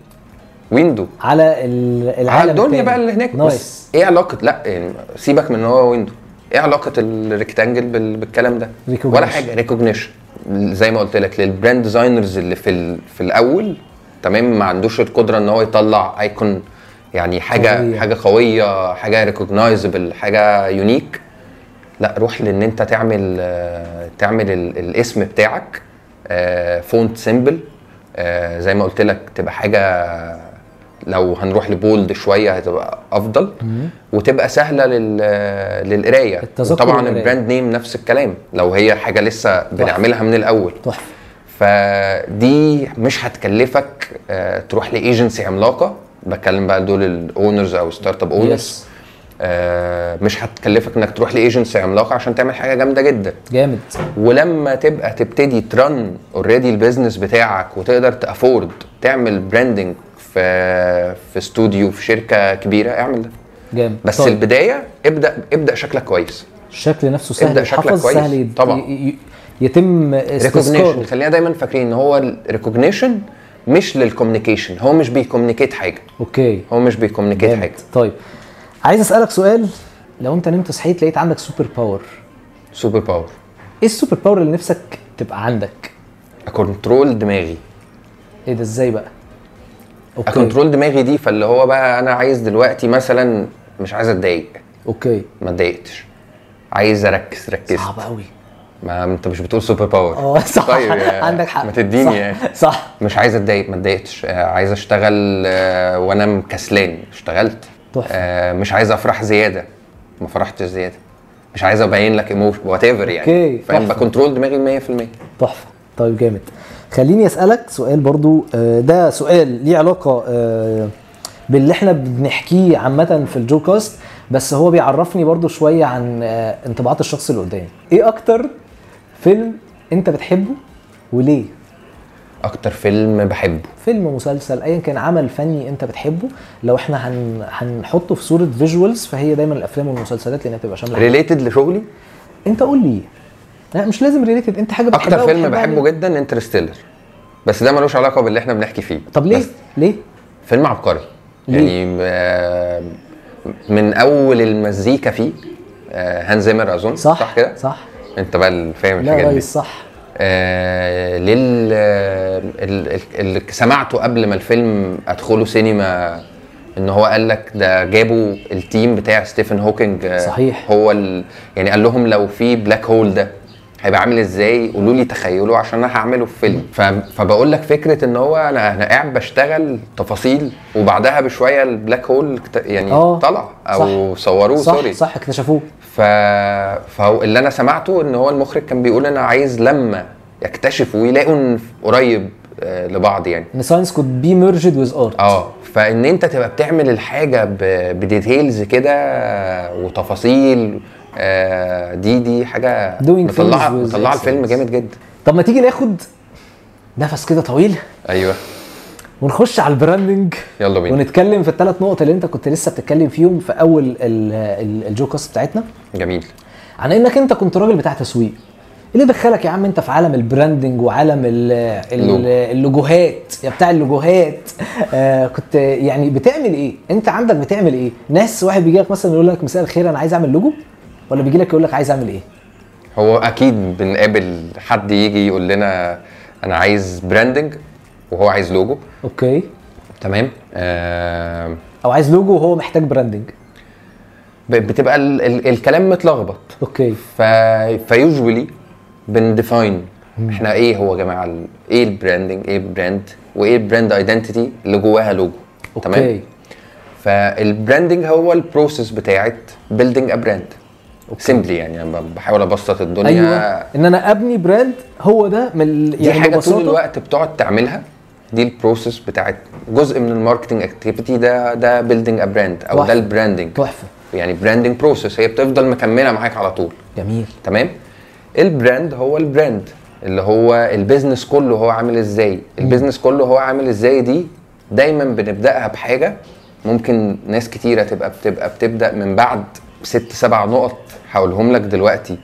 Speaker 2: ويندو
Speaker 1: على ال- العالم
Speaker 2: على الدنيا
Speaker 1: التاني.
Speaker 2: آه، بقى اللي هناك
Speaker 1: نايس
Speaker 2: بس ايه علاقه لا يعني سيبك من ان هو ويندو ايه علاقه الريكتانجل بال- بالكلام ده
Speaker 1: Recognition.
Speaker 2: ولا حاجه ريكوجنيشن زي ما قلت لك للبراند ديزاينرز اللي في ال- في الاول تمام ما عندوش القدره ان هو يطلع ايكون يعني حاجه
Speaker 1: قوية.
Speaker 2: قوية. حاجه قويه حاجه ريكوجنايزبل حاجه يونيك لا روح لان انت تعمل آه، تعمل ال- الاسم بتاعك آه، فونت سيمبل آه، زي ما قلت لك تبقى حاجه لو هنروح لبولد شويه هتبقى افضل وتبقى سهله لل... للقرايه
Speaker 1: التذكر
Speaker 2: طبعا
Speaker 1: والقراية.
Speaker 2: البراند نيم نفس الكلام لو هي حاجه لسه بنعملها من الاول
Speaker 1: تحفه
Speaker 2: فدي مش هتكلفك آه، تروح لايجنسي عملاقه بتكلم بقى دول الاونرز او ستارت اب اونرز
Speaker 1: يس
Speaker 2: آه، مش هتكلفك انك تروح لايجنسي عملاقه عشان تعمل حاجه جامده جدا
Speaker 1: جامد
Speaker 2: ولما تبقى تبتدي ترن اوريدي البيزنس بتاعك وتقدر تافورد تعمل براندنج في في استوديو في شركه كبيره اعمل ده
Speaker 1: جامد
Speaker 2: بس
Speaker 1: طيب.
Speaker 2: البدايه ابدا ابدا شكلك كويس
Speaker 1: الشكل نفسه سهل
Speaker 2: ابدأ شكلك
Speaker 1: يتحفظ
Speaker 2: كويس.
Speaker 1: سهل يت-
Speaker 2: طبعا.
Speaker 1: ي- ي- يتم
Speaker 2: ريكوجنيشن
Speaker 1: استذكاره
Speaker 2: خلينا دايما فاكرين ان هو الريكوجنيشن مش للكوميونيكيشن هو مش بيكوميونيكيت حاجه
Speaker 1: اوكي
Speaker 2: هو مش بيكوميونيكيت حاجه
Speaker 1: طيب عايز اسالك سؤال لو انت نمت صحيت لقيت عندك سوبر باور
Speaker 2: سوبر باور
Speaker 1: ايه السوبر باور اللي نفسك تبقى عندك
Speaker 2: اكونترول دماغي
Speaker 1: ايه ده ازاي بقى اوكي
Speaker 2: اكونترول دماغي دي فاللي هو بقى انا عايز دلوقتي مثلا مش عايز اتضايق
Speaker 1: اوكي
Speaker 2: ما اتضايقتش عايز اركز ركزت
Speaker 1: صعب قوي
Speaker 2: ما انت مش بتقول سوبر باور
Speaker 1: اه صح
Speaker 2: طيب يا-
Speaker 1: عندك حق
Speaker 2: ما تديني
Speaker 1: صح.
Speaker 2: يعني
Speaker 1: صح
Speaker 2: مش عايز اتضايق ما اتضايقتش آه، عايز اشتغل آه، وانا مكسلان اشتغلت
Speaker 1: تحفة.
Speaker 2: آه، مش عايز افرح زياده ما فرحتش زياده مش عايز ابين لك ايموشن وات ايفر
Speaker 1: أوكي،
Speaker 2: يعني فاهم
Speaker 1: تحفة.
Speaker 2: بكنترول دماغي 100%
Speaker 1: تحفه طيب جامد خليني اسالك سؤال برضو آه، ده سؤال ليه علاقه آه، باللي احنا بنحكيه عامه في الجو كاست بس هو بيعرفني برضو شويه عن آه، انطباعات الشخص اللي قدامي ايه اكتر فيلم انت بتحبه وليه
Speaker 2: اكتر فيلم بحبه
Speaker 1: فيلم مسلسل ايا كان عمل فني انت بتحبه لو احنا هن... هنحطه في صوره فيجوالز فهي دايما الافلام والمسلسلات لانها بتبقى شامله
Speaker 2: ريليتد لشغلي
Speaker 1: انت قول لي لا مش لازم ريليتد انت حاجه بتحبها
Speaker 2: اكتر فيلم
Speaker 1: وبتحبها
Speaker 2: بحبه
Speaker 1: ليه؟
Speaker 2: جدا انترستيلر بس ده ملوش علاقه باللي احنا بنحكي فيه
Speaker 1: طب ليه
Speaker 2: بس
Speaker 1: ليه
Speaker 2: فيلم عبقري
Speaker 1: ليه؟
Speaker 2: يعني آه، من اول المزيكا فيه آه، هانز زيمر اظن
Speaker 1: صح
Speaker 2: صح كده
Speaker 1: صح
Speaker 2: انت بقى اللي فاهم
Speaker 1: لا يا
Speaker 2: الحاجات دي
Speaker 1: ريس صح
Speaker 2: آه، لل آه، ال- ال- اللي سمعته قبل ما الفيلم ادخله سينما ان هو قال لك ده جابوا التيم بتاع ستيفن هوكينج آه،
Speaker 1: صحيح.
Speaker 2: هو ال... يعني قال لهم لو في بلاك هول ده هيبقى عامل ازاي قولوا لي تخيلوا عشان انا هعمله في فيلم ف... فبقول لك فكره ان هو انا انا قاعد بشتغل تفاصيل وبعدها بشويه البلاك هول اكت- يعني
Speaker 1: آه،
Speaker 2: طلع او صوروه
Speaker 1: صح
Speaker 2: سوري
Speaker 1: صح اكتشفوه
Speaker 2: ف... فهو اللي انا سمعته ان هو المخرج كان بيقول انا عايز لما يكتشفوا ويلاقوا إن قريب آه، لبعض يعني
Speaker 1: ان ساينس كود بي ميرجد ويز ارت
Speaker 2: اه فان انت تبقى بتعمل الحاجه ب... بديتيلز كده وتفاصيل آه، دي دي حاجه
Speaker 1: Doing
Speaker 2: مطلعه
Speaker 1: things with
Speaker 2: مطلعه الفيلم
Speaker 1: excellence.
Speaker 2: جامد جدا
Speaker 1: طب ما تيجي ناخد نفس كده طويل
Speaker 2: ايوه
Speaker 1: ونخش على البراندنج
Speaker 2: يلا بينا
Speaker 1: ونتكلم في الثلاث نقط اللي انت كنت لسه بتتكلم فيهم في اول ال- ال- الجو كاست بتاعتنا
Speaker 2: جميل
Speaker 1: عن انك انت كنت راجل بتاع تسويق اللي دخلك يا عم انت في عالم البراندنج وعالم ال ال
Speaker 2: اللوجو.
Speaker 1: اللوجوهات يا بتاع اللوجوهات آه كنت يعني بتعمل ايه انت عندك بتعمل ايه ناس واحد بيجي لك مثلا يقول لك مساء الخير انا عايز اعمل لوجو ولا بيجي لك يقول لك عايز اعمل ايه
Speaker 2: هو اكيد بنقابل حد يجي يقول لنا انا عايز براندنج وهو عايز لوجو
Speaker 1: اوكي
Speaker 2: تمام آه
Speaker 1: او عايز لوجو وهو محتاج براندنج
Speaker 2: ب- بتبقى ال... ال... الكلام متلخبط
Speaker 1: اوكي
Speaker 2: ف... فيوجولي بنديفاين احنا ايه هو يا جماعه ال- ايه البراندنج ايه البراند وايه البراند ايدنتيتي اللي جواها لوجو
Speaker 1: اوكي
Speaker 2: تمام فالبراندنج هو البروسيس بتاعت بيلدينج ا براند سيمبلي يعني أنا بحاول ابسط الدنيا
Speaker 1: ايوه ان انا ابني براند هو ده من ال- يعني
Speaker 2: دي حاجه
Speaker 1: ببساطة
Speaker 2: طول الوقت بتقعد تعملها دي البروسيس بتاعت جزء من الماركتنج اكتيفيتي ده ده بيلدينج ا براند او
Speaker 1: واحد.
Speaker 2: ده البراندنج
Speaker 1: تحفه
Speaker 2: يعني براندنج بروسيس هي بتفضل مكمله معاك على طول
Speaker 1: جميل
Speaker 2: تمام البراند هو البراند اللي هو البيزنس كله هو عامل ازاي البيزنس كله هو عامل ازاي دي دايما بنبداها بحاجه ممكن ناس كتيره تبقى بتبقى بتبدا من بعد ست سبع نقط هقولهم لك دلوقتي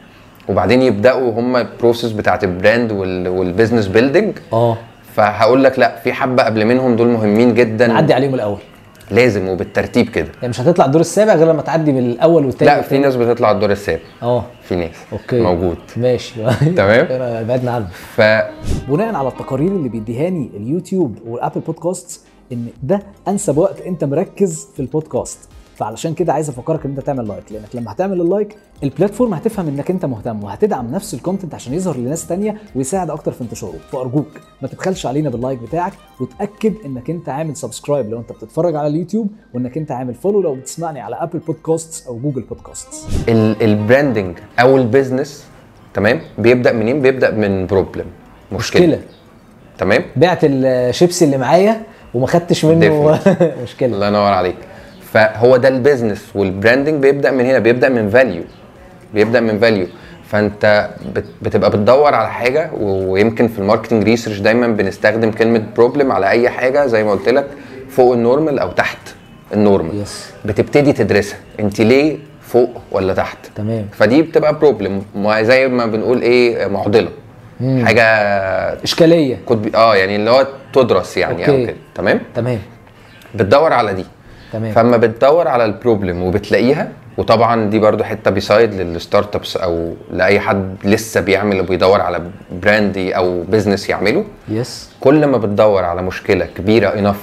Speaker 2: وبعدين يبداوا هم البروسيس بتاعت البراند وال- والبيزنس بيلدينج
Speaker 1: اه
Speaker 2: فهقول لك لا في حبه قبل منهم دول مهمين جدا
Speaker 1: نعدي عليهم الاول
Speaker 2: لازم وبالترتيب كده
Speaker 1: يعني مش هتطلع الدور السابع غير لما تعدي من الاول والتاني
Speaker 2: لا في
Speaker 1: والتاني.
Speaker 2: ناس بتطلع الدور السابع
Speaker 1: اه
Speaker 2: في ناس
Speaker 1: اوكي
Speaker 2: موجود
Speaker 1: ماشي
Speaker 2: تمام.
Speaker 1: أنا بعدنا عنه
Speaker 2: ف
Speaker 1: بناء على التقارير اللي بيديهاني اليوتيوب والابل بودكاست ان ده انسب وقت انت مركز في البودكاست فعلشان كده عايز افكرك ان انت تعمل لايك لانك لما هتعمل اللايك البلاتفورم هتفهم انك انت مهتم وهتدعم نفس الكونتنت عشان يظهر لناس تانية ويساعد اكتر في انتشاره فارجوك ما تبخلش علينا باللايك بتاعك وتاكد انك انت عامل سبسكرايب لو انت بتتفرج على اليوتيوب وانك انت عامل فولو لو بتسمعني على ابل بودكاستس او جوجل بودكاستس
Speaker 2: ال- البراندنج او البيزنس تمام بيبدا منين بيبدا من بروبلم مشكله,
Speaker 1: مشكله
Speaker 2: تمام
Speaker 1: بعت الشيبسي اللي معايا وما خدتش منه مشكله
Speaker 2: الله ينور عليك فهو ده البيزنس والبراندنج بيبدا من هنا بيبدا من فاليو بيبدا من فاليو فانت بت- بتبقى بتدور على حاجه و- ويمكن في الماركتنج ريسيرش دايما بنستخدم كلمه بروبلم على اي حاجه زي ما قلت لك فوق النورمال او تحت النورمال
Speaker 1: يس
Speaker 2: بتبتدي تدرسها انت ليه فوق ولا تحت
Speaker 1: تمام
Speaker 2: فدي بتبقى بروبلم زي ما بنقول ايه معضله
Speaker 1: مم.
Speaker 2: حاجه
Speaker 1: اشكاليه
Speaker 2: كنت بي... اه يعني اللي هو تدرس يعني او
Speaker 1: أوكي.
Speaker 2: كده تمام
Speaker 1: تمام
Speaker 2: بتدور على دي
Speaker 1: تمام
Speaker 2: فاما بتدور على البروبلم وبتلاقيها وطبعا دي برضو حته بيسايد للستارت ابس او لاي حد لسه بيعمل وبيدور على براند او بزنس يعمله
Speaker 1: يس
Speaker 2: كل ما بتدور على مشكله كبيره انف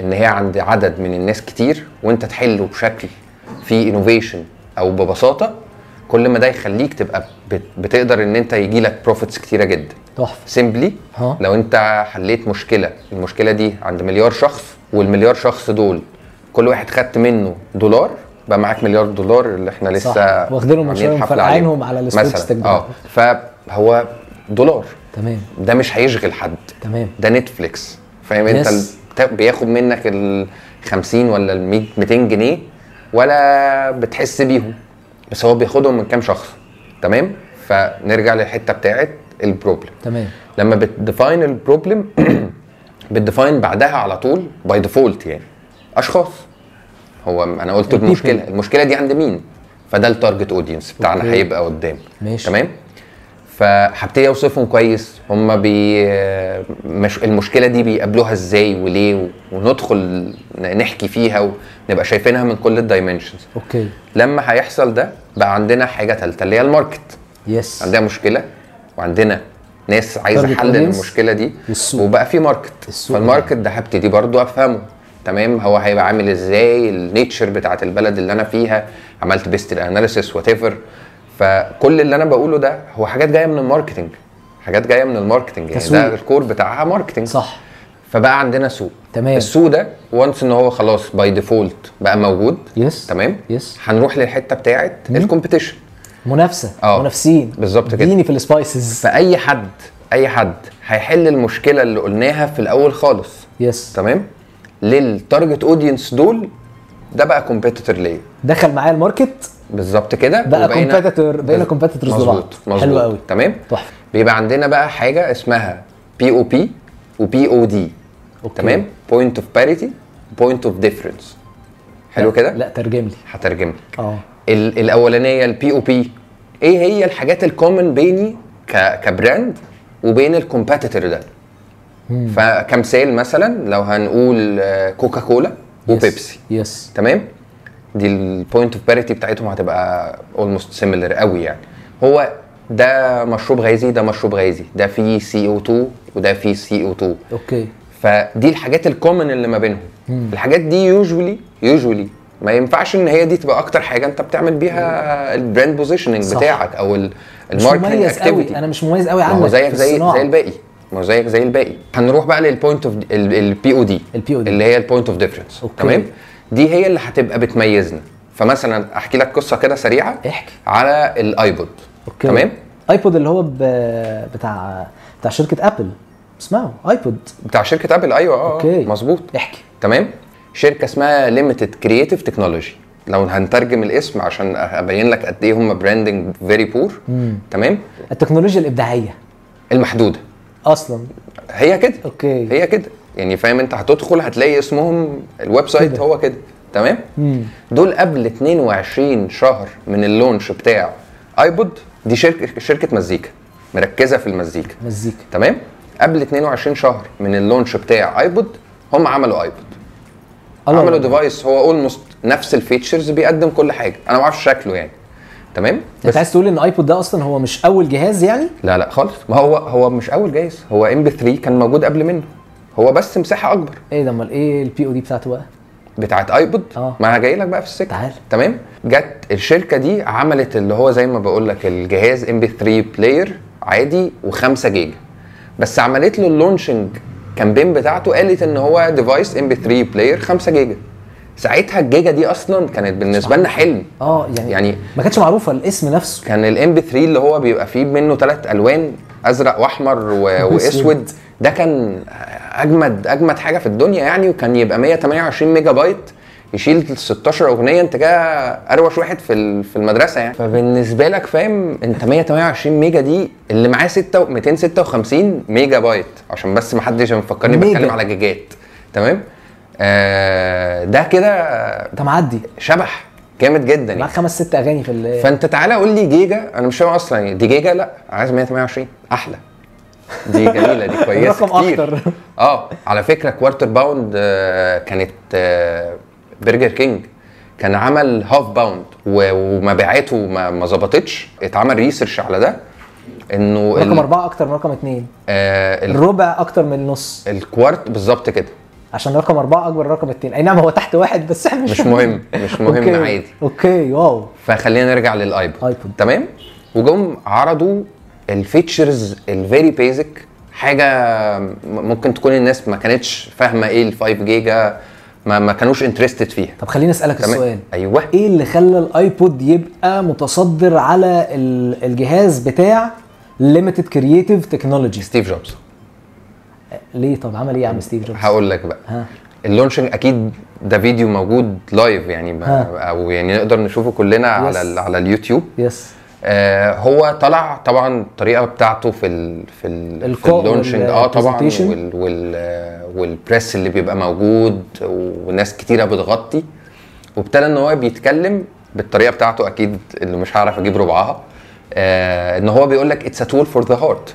Speaker 2: ان هي عند عدد من الناس كتير وانت تحله بشكل فيه انوفيشن او ببساطه كل ما ده يخليك تبقى بت- بتقدر ان انت يجي لك بروفيتس كتيره جدا
Speaker 1: تحفه
Speaker 2: سيمبلي
Speaker 1: ها.
Speaker 2: لو انت حليت مشكله المشكله دي عند مليار شخص والمليار شخص دول كل واحد خدت منه دولار بقى معاك مليار دولار اللي احنا لسه
Speaker 1: صح. واخدينهم
Speaker 2: عاملين
Speaker 1: وشوية
Speaker 2: حفلة عليهم.
Speaker 1: مفرقعينهم على الستوكس
Speaker 2: مثلا
Speaker 1: تكبر.
Speaker 2: اه فهو دولار
Speaker 1: تمام
Speaker 2: ده مش هيشغل حد
Speaker 1: تمام
Speaker 2: ده نتفليكس فاهم انت
Speaker 1: Yes.
Speaker 2: ال- تا- بياخد منك ال 50 ولا ال 100 200 جنيه ولا بتحس بيهم بس هو بياخدهم من كام شخص تمام فنرجع للحته بتاعت البروبلم
Speaker 1: تمام
Speaker 2: لما بتديفاين البروبلم بتديفاين بعدها على طول باي ديفولت يعني اشخاص هو انا قلت
Speaker 1: The people.
Speaker 2: المشكله المشكله دي عند مين فده التارجت اودينس بتاعنا
Speaker 1: أوكي.
Speaker 2: هيبقى قدام
Speaker 1: ماشي
Speaker 2: تمام فهبتدي اوصفهم كويس هم بي مش المشكله دي بيقابلوها ازاي وليه و- وندخل ن- نحكي فيها ونبقى شايفينها من كل الدايمنشنز
Speaker 1: اوكي
Speaker 2: لما هيحصل ده بقى عندنا حاجه ثالثه اللي هي الماركت
Speaker 1: يس
Speaker 2: عندها مشكله وعندنا ناس عايزه
Speaker 1: Target
Speaker 2: حل
Speaker 1: audience
Speaker 2: للمشكله دي
Speaker 1: والسوق.
Speaker 2: وبقى في ماركت
Speaker 1: السوق.
Speaker 2: فالماركت ده هبتدي برضو افهمه تمام هو هيبقى عامل ازاي النيتشر بتاعت البلد اللي انا فيها عملت بيست الاناليسيس وات ايفر فكل اللي انا بقوله ده هو حاجات جايه من الماركتنج حاجات جايه من الماركتنج يعني
Speaker 1: تسويق.
Speaker 2: ده الكور بتاعها ماركتنج
Speaker 1: صح
Speaker 2: فبقى عندنا سوق
Speaker 1: تمام.
Speaker 2: السوق ده وانس ان هو خلاص باي ديفولت بقى موجود
Speaker 1: يس
Speaker 2: تمام
Speaker 1: يس
Speaker 2: هنروح للحته بتاعت الكومبيتيشن
Speaker 1: منافسه
Speaker 2: اه.
Speaker 1: منافسين
Speaker 2: بالظبط كده.
Speaker 1: اديني في السبايسز
Speaker 2: فاي حد اي حد هيحل المشكله اللي قلناها في الاول خالص
Speaker 1: يس
Speaker 2: تمام للتارجت اودينس دول ده بقى كومبيتيتور ليا
Speaker 1: دخل معايا الماركت
Speaker 2: بالظبط كده
Speaker 1: بقى
Speaker 2: وبقينا-
Speaker 1: كومبيتيتور بقينا
Speaker 2: بز-
Speaker 1: كومبيتيتورز لبعض
Speaker 2: مظبوط
Speaker 1: حلو
Speaker 2: مظبوط.
Speaker 1: قوي
Speaker 2: تمام
Speaker 1: تحفه
Speaker 2: بيبقى عندنا بقى حاجه اسمها بي او بي وبي او دي
Speaker 1: أوكي.
Speaker 2: تمام بوينت اوف باريتي بوينت اوف ديفرنس حلو
Speaker 1: لا-
Speaker 2: كده
Speaker 1: لا ترجم لي
Speaker 2: هترجم لك
Speaker 1: اه
Speaker 2: ال- الاولانيه البي او بي ايه هي الحاجات الكومن بيني ك- كبراند وبين الكومبيتيتور ده فكمثال مثلا لو هنقول آه، كوكا كولا وبيبسي
Speaker 1: يس
Speaker 2: تمام دي البوينت اوف باريتي بتاعتهم هتبقى اولموست سيميلر قوي يعني هو ده مشروب غازي ده مشروب غازي ده فيه سي او 2 وده فيه سي او 2
Speaker 1: اوكي
Speaker 2: فدي الحاجات الكومن اللي ما بينهم الحاجات دي يوجولي يوجولي ما ينفعش ان هي دي تبقى اكتر حاجه انت بتعمل بيها البراند بوزيشننج
Speaker 1: صح.
Speaker 2: بتاعك او ال-
Speaker 1: مش
Speaker 2: الماركتنج
Speaker 1: مميز قوي
Speaker 2: اكتيفيتي
Speaker 1: انا مش مميز قوي
Speaker 2: ما هو
Speaker 1: عنك
Speaker 2: زيك
Speaker 1: في
Speaker 2: زي
Speaker 1: الصناعة.
Speaker 2: زي الباقي ما هو زيك زي الباقي هنروح بقى للبوينت اوف البي او دي
Speaker 1: ال POD.
Speaker 2: اللي هي البوينت اوف ديفرنس
Speaker 1: أوكي.
Speaker 2: تمام دي هي اللي هتبقى بتميزنا فمثلا احكي لك قصه كده سريعه
Speaker 1: احكي
Speaker 2: على الايبود
Speaker 1: اوكي
Speaker 2: تمام.
Speaker 1: ايبود اللي هو ب... بتاع بتاع شركه ابل اسمعوا ايبود
Speaker 2: بتاع شركه ابل ايوه اه
Speaker 1: اوكي.
Speaker 2: اوكي مظبوط
Speaker 1: احكي
Speaker 2: تمام شركه اسمها ليميتد كرييتيف تكنولوجي لو هنترجم الاسم عشان ابين لك قد ايه هم براندنج فيري بور
Speaker 1: مم.
Speaker 2: تمام
Speaker 1: التكنولوجيا الابداعيه
Speaker 2: المحدوده
Speaker 1: اصلا
Speaker 2: هي كده
Speaker 1: اوكي
Speaker 2: هي كده يعني فاهم انت هتدخل هتلاقي اسمهم الويب سايت
Speaker 1: كده.
Speaker 2: هو كده تمام
Speaker 1: مم.
Speaker 2: دول قبل 22 شهر من اللونش بتاع ايبود دي شركه شركه مزيكا مركزه في المزيكا
Speaker 1: مزيكا
Speaker 2: تمام قبل 22 شهر من اللونش بتاع ايبود هم عملوا ايبود
Speaker 1: الله
Speaker 2: عملوا
Speaker 1: الله.
Speaker 2: ديفايس هو اولموست نفس الفيتشرز بيقدم كل حاجه انا ما اعرفش شكله يعني تمام
Speaker 1: انت
Speaker 2: بس
Speaker 1: عايز تقول ان ايبود ده اصلا هو مش اول جهاز يعني
Speaker 2: لا لا خالص ما هو هو مش اول جايز هو ام بي 3 كان موجود قبل منه هو بس مساحه اكبر
Speaker 1: ايه ده امال ايه البي او دي بتاعته بقى
Speaker 2: بتاعت ايبود
Speaker 1: آه.
Speaker 2: ما انا جاي لك بقى في السكه
Speaker 1: تعال.
Speaker 2: تمام جت الشركه دي عملت اللي هو زي ما بقول لك الجهاز ام بي 3 بلاير عادي و5 جيجا بس عملت له اللونشنج كامبين بتاعته قالت ان هو ديفايس ام بي 3 بلاير 5 جيجا ساعتها الجيجا دي اصلا كانت بالنسبه لنا حلم
Speaker 1: اه يعني,
Speaker 2: يعني-
Speaker 1: ما كانتش معروفه الاسم نفسه
Speaker 2: كان الام بي 3 اللي هو بيبقى فيه منه ثلاث الوان ازرق واحمر و... واسود ده كان اجمد اجمد حاجه في الدنيا يعني وكان يبقى 128 ميجا بايت يشيل 16 اغنيه انت كده اروش واحد في ال- في المدرسه يعني فبالنسبه لك فاهم انت 128 ميجا دي اللي معاه 6 و- 256 ميجا بايت عشان بس ما حدش مفكرني
Speaker 1: ميجا.
Speaker 2: بتكلم على جيجات تمام آه ده كده
Speaker 1: انت معدي
Speaker 2: شبح جامد جدا يعني
Speaker 1: معاك خمس ست اغاني في ال
Speaker 2: فانت تعالى قول لي جيجا انا مش فاهم اصلا يعني دي جيجا لا عايز 128 احلى دي جميله دي كويسه
Speaker 1: الرقم
Speaker 2: كتير
Speaker 1: اكتر
Speaker 2: اه على فكره كوارتر باوند آه، كانت آه، برجر كينج كان عمل هاف باوند و- ومبيعاته ما ما ظبطتش اتعمل ريسيرش على ده انه
Speaker 1: رقم
Speaker 2: ال-
Speaker 1: اربعه اكتر من رقم اثنين
Speaker 2: آه، ال-
Speaker 1: الربع اكتر من النص
Speaker 2: الكوارت بالظبط كده
Speaker 1: عشان رقم اربعه اكبر من رقم اثنين اي نعم هو تحت واحد بس احنا مش
Speaker 2: مش
Speaker 1: فاهمين.
Speaker 2: مهم مش مهم
Speaker 1: أوكي.
Speaker 2: عادي
Speaker 1: اوكي واو
Speaker 2: فخلينا نرجع للايبود
Speaker 1: آيبود.
Speaker 2: تمام وجم عرضوا الفيتشرز الفيري بيزك حاجه م- ممكن تكون الناس ما كانتش فاهمه ايه ال 5 جيجا ما, ما كانوش انترستد فيها
Speaker 1: طب خليني اسالك
Speaker 2: تمام
Speaker 1: السؤال
Speaker 2: ايوه
Speaker 1: ايه اللي خلى الايبود يبقى متصدر على ال- الجهاز بتاع ليميتد كرييتيف تكنولوجيز
Speaker 2: ستيف جوبز
Speaker 1: ليه طب عمل ايه يا عم ستيف جوبز
Speaker 2: هقول لك بقى
Speaker 1: ها
Speaker 2: اللونشنج اكيد ده فيديو موجود لايف يعني ما
Speaker 1: ها.
Speaker 2: او يعني نقدر نشوفه كلنا على
Speaker 1: Yes.
Speaker 2: ال- على اليوتيوب
Speaker 1: يس
Speaker 2: آه هو طلع طبعا الطريقه بتاعته في ال في ال في
Speaker 1: القاء
Speaker 2: اللونشنج
Speaker 1: وال-
Speaker 2: اه طبعا
Speaker 1: presentation.
Speaker 2: وال وال آه، والبريس اللي بيبقى موجود وناس كتيره بتغطي وابتدى ان هو بيتكلم بالطريقه بتاعته اكيد اللي مش هعرف اجيب ربعها آه ان هو بيقول لك اتس ا تول فور ذا هارت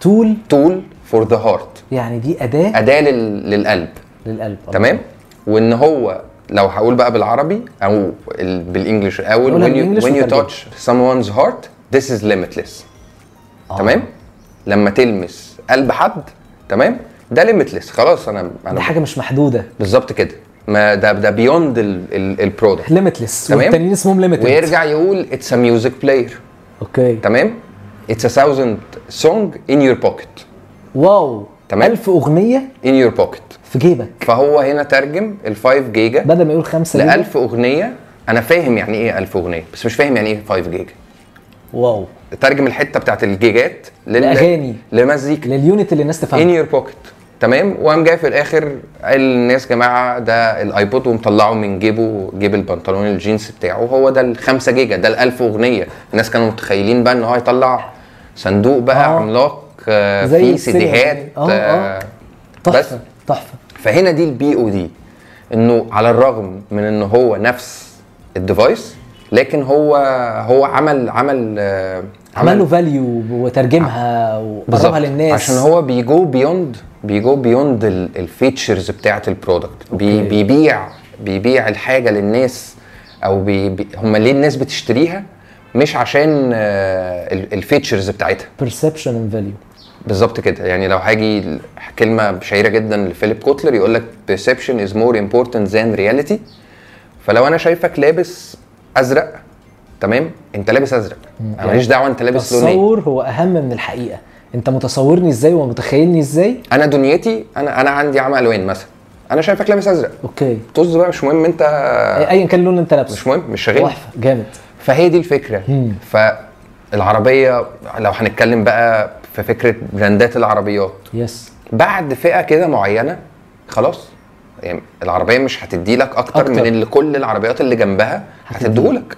Speaker 1: تول
Speaker 2: تول فور ذا هارت
Speaker 1: يعني دي اداه
Speaker 2: اداه لل- للقلب
Speaker 1: للقلب
Speaker 2: تمام وان هو لو هقول بقى بالعربي او ال- بالانجلش الاول
Speaker 1: قولها
Speaker 2: when you,
Speaker 1: بالإنجلش
Speaker 2: when you
Speaker 1: وترجمة.
Speaker 2: touch someone's heart this is limitless
Speaker 1: آه.
Speaker 2: تمام لما تلمس قلب حد تمام ده ليميتلس خلاص انا
Speaker 1: دي
Speaker 2: انا
Speaker 1: حاجه مش محدوده
Speaker 2: بالظبط كده ما ده ده بيوند البرودكت
Speaker 1: ليميتلس
Speaker 2: تمام.
Speaker 1: والتانيين اسمهم ليميتد
Speaker 2: ويرجع يقول اتس ا ميوزك بلاير
Speaker 1: اوكي
Speaker 2: تمام اتس a thousand song in your pocket
Speaker 1: واو
Speaker 2: تمام.
Speaker 1: 1000 اغنيه
Speaker 2: in your pocket
Speaker 1: في جيبك
Speaker 2: فهو هنا ترجم ال 5 جيجا
Speaker 1: بدل ما يقول 5
Speaker 2: ل 1000 اغنيه انا فاهم يعني ايه 1000 اغنيه بس مش فاهم يعني ايه 5 جيجا
Speaker 1: واو
Speaker 2: ترجم الحته بتاعت الجيجات لل...
Speaker 1: لأغاني.
Speaker 2: لمزيكا
Speaker 1: لليونت اللي الناس
Speaker 2: ان
Speaker 1: تفهمها
Speaker 2: يور بوكيت تمام وقام جاي في الاخر قال للناس يا جماعه ده الايبود ومطلعه من جيبه جيب البنطلون الجينز بتاعه هو ده ال 5 جيجا ده ال 1000 اغنيه الناس كانوا متخيلين بقى ان هو هيطلع صندوق بقى
Speaker 1: آه.
Speaker 2: عملاق آه،
Speaker 1: زي
Speaker 2: فيه
Speaker 1: السينما.
Speaker 2: سيديهات
Speaker 1: آه، آه. تحفه
Speaker 2: بس.
Speaker 1: تحفه
Speaker 2: فهنا دي البي او دي انه على الرغم من ان هو نفس الديفايس لكن هو هو عمل عمل آه،
Speaker 1: عمل له فاليو وترجمها وقربها للناس
Speaker 2: عشان هو بيجو بيوند بيجو بيوند الفيتشرز بتاعه البرودكت بي
Speaker 1: أوكي.
Speaker 2: بيبيع بيبيع الحاجه للناس او بي بي هم ليه الناس بتشتريها مش عشان آه، الفيتشرز بتاعتها
Speaker 1: perception and value
Speaker 2: بالظبط كده يعني لو هاجي ل- كلمه شهيره جدا لفيليب كوتلر يقول لك perception is more important than reality فلو انا شايفك لابس ازرق تمام انت لابس ازرق
Speaker 1: يعني
Speaker 2: انا ماليش دعوه انت لابس لون ايه
Speaker 1: التصور هو اهم من الحقيقه انت متصورني ازاي ومتخيلني ازاي
Speaker 2: انا دنيتي انا انا عندي عام الوان مثلا انا شايفك لابس ازرق
Speaker 1: اوكي
Speaker 2: طز بقى مش مهم انت
Speaker 1: أي- ايا كان اللون اللي انت لابسه
Speaker 2: مش مهم مش شاغلني
Speaker 1: تحفه جامد
Speaker 2: فهي دي الفكره فالعربيه لو هنتكلم بقى في فكره براندات العربيات
Speaker 1: يس
Speaker 2: بعد فئه كده معينه خلاص يعني العربيه مش هتدي لك اكتر,
Speaker 1: أكتر.
Speaker 2: أكتر. من اللي كل العربيات اللي جنبها هتديهولك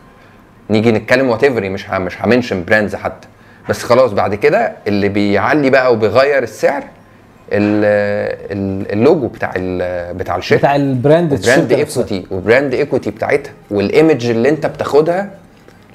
Speaker 2: نيجي نتكلم وات مش ه- مش همنشن براندز حتى بس خلاص بعد كده اللي بيعلي بقى وبيغير السعر ال- ال- اللوجو بتاع ال- بتاع الشركه
Speaker 1: بتاع البراند
Speaker 2: براند
Speaker 1: الشركة نفسها.
Speaker 2: ايكوتي وبراند ايكوتي بتاعتها والايمج اللي انت بتاخدها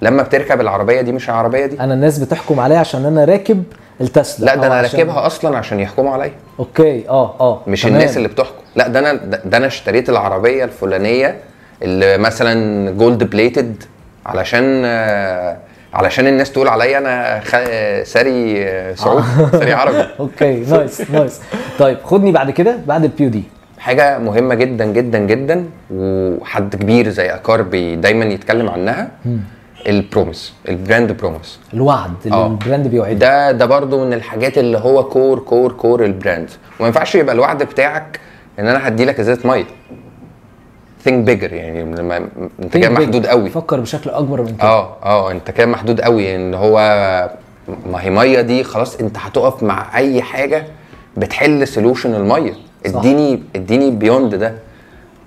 Speaker 2: لما بتركب العربيه دي مش العربيه دي
Speaker 1: انا الناس بتحكم عليا عشان انا راكب التسلا
Speaker 2: لا ده
Speaker 1: أو
Speaker 2: انا
Speaker 1: عشان-
Speaker 2: راكبها اصلا عشان يحكموا عليا
Speaker 1: اوكي اه اه
Speaker 2: مش
Speaker 1: تمام.
Speaker 2: الناس اللي بتحكم لا ده انا ده ده انا اشتريت العربيه الفلانيه اللي مثلا جولد بليتد علشان آه، علشان الناس تقول عليا انا خ... آه، ساري آه، سعود ساري عربي
Speaker 1: اوكي نايس نايس طيب خدني بعد كده بعد البيو دي
Speaker 2: حاجه مهمه جدا جدا جدا وحد كبير زي اكاربي دايما يتكلم عنها البروميس البراند بروميس
Speaker 1: الوعد اللي
Speaker 2: آه.
Speaker 1: البراند بيوعده
Speaker 2: ده ده برضو من الحاجات اللي هو كور كور كور البراند وما ينفعش يبقى الوعد بتاعك ان انا هدي لك ازازه ميه ثينك بيجر يعني لما انت كده محدود قوي
Speaker 1: فكر بشكل اكبر من كده
Speaker 2: اه اه انت كده محدود قوي ان هو ما هي ميه دي خلاص انت هتقف مع اي حاجه بتحل سولوشن الميه
Speaker 1: صح.
Speaker 2: اديني اديني بيوند ده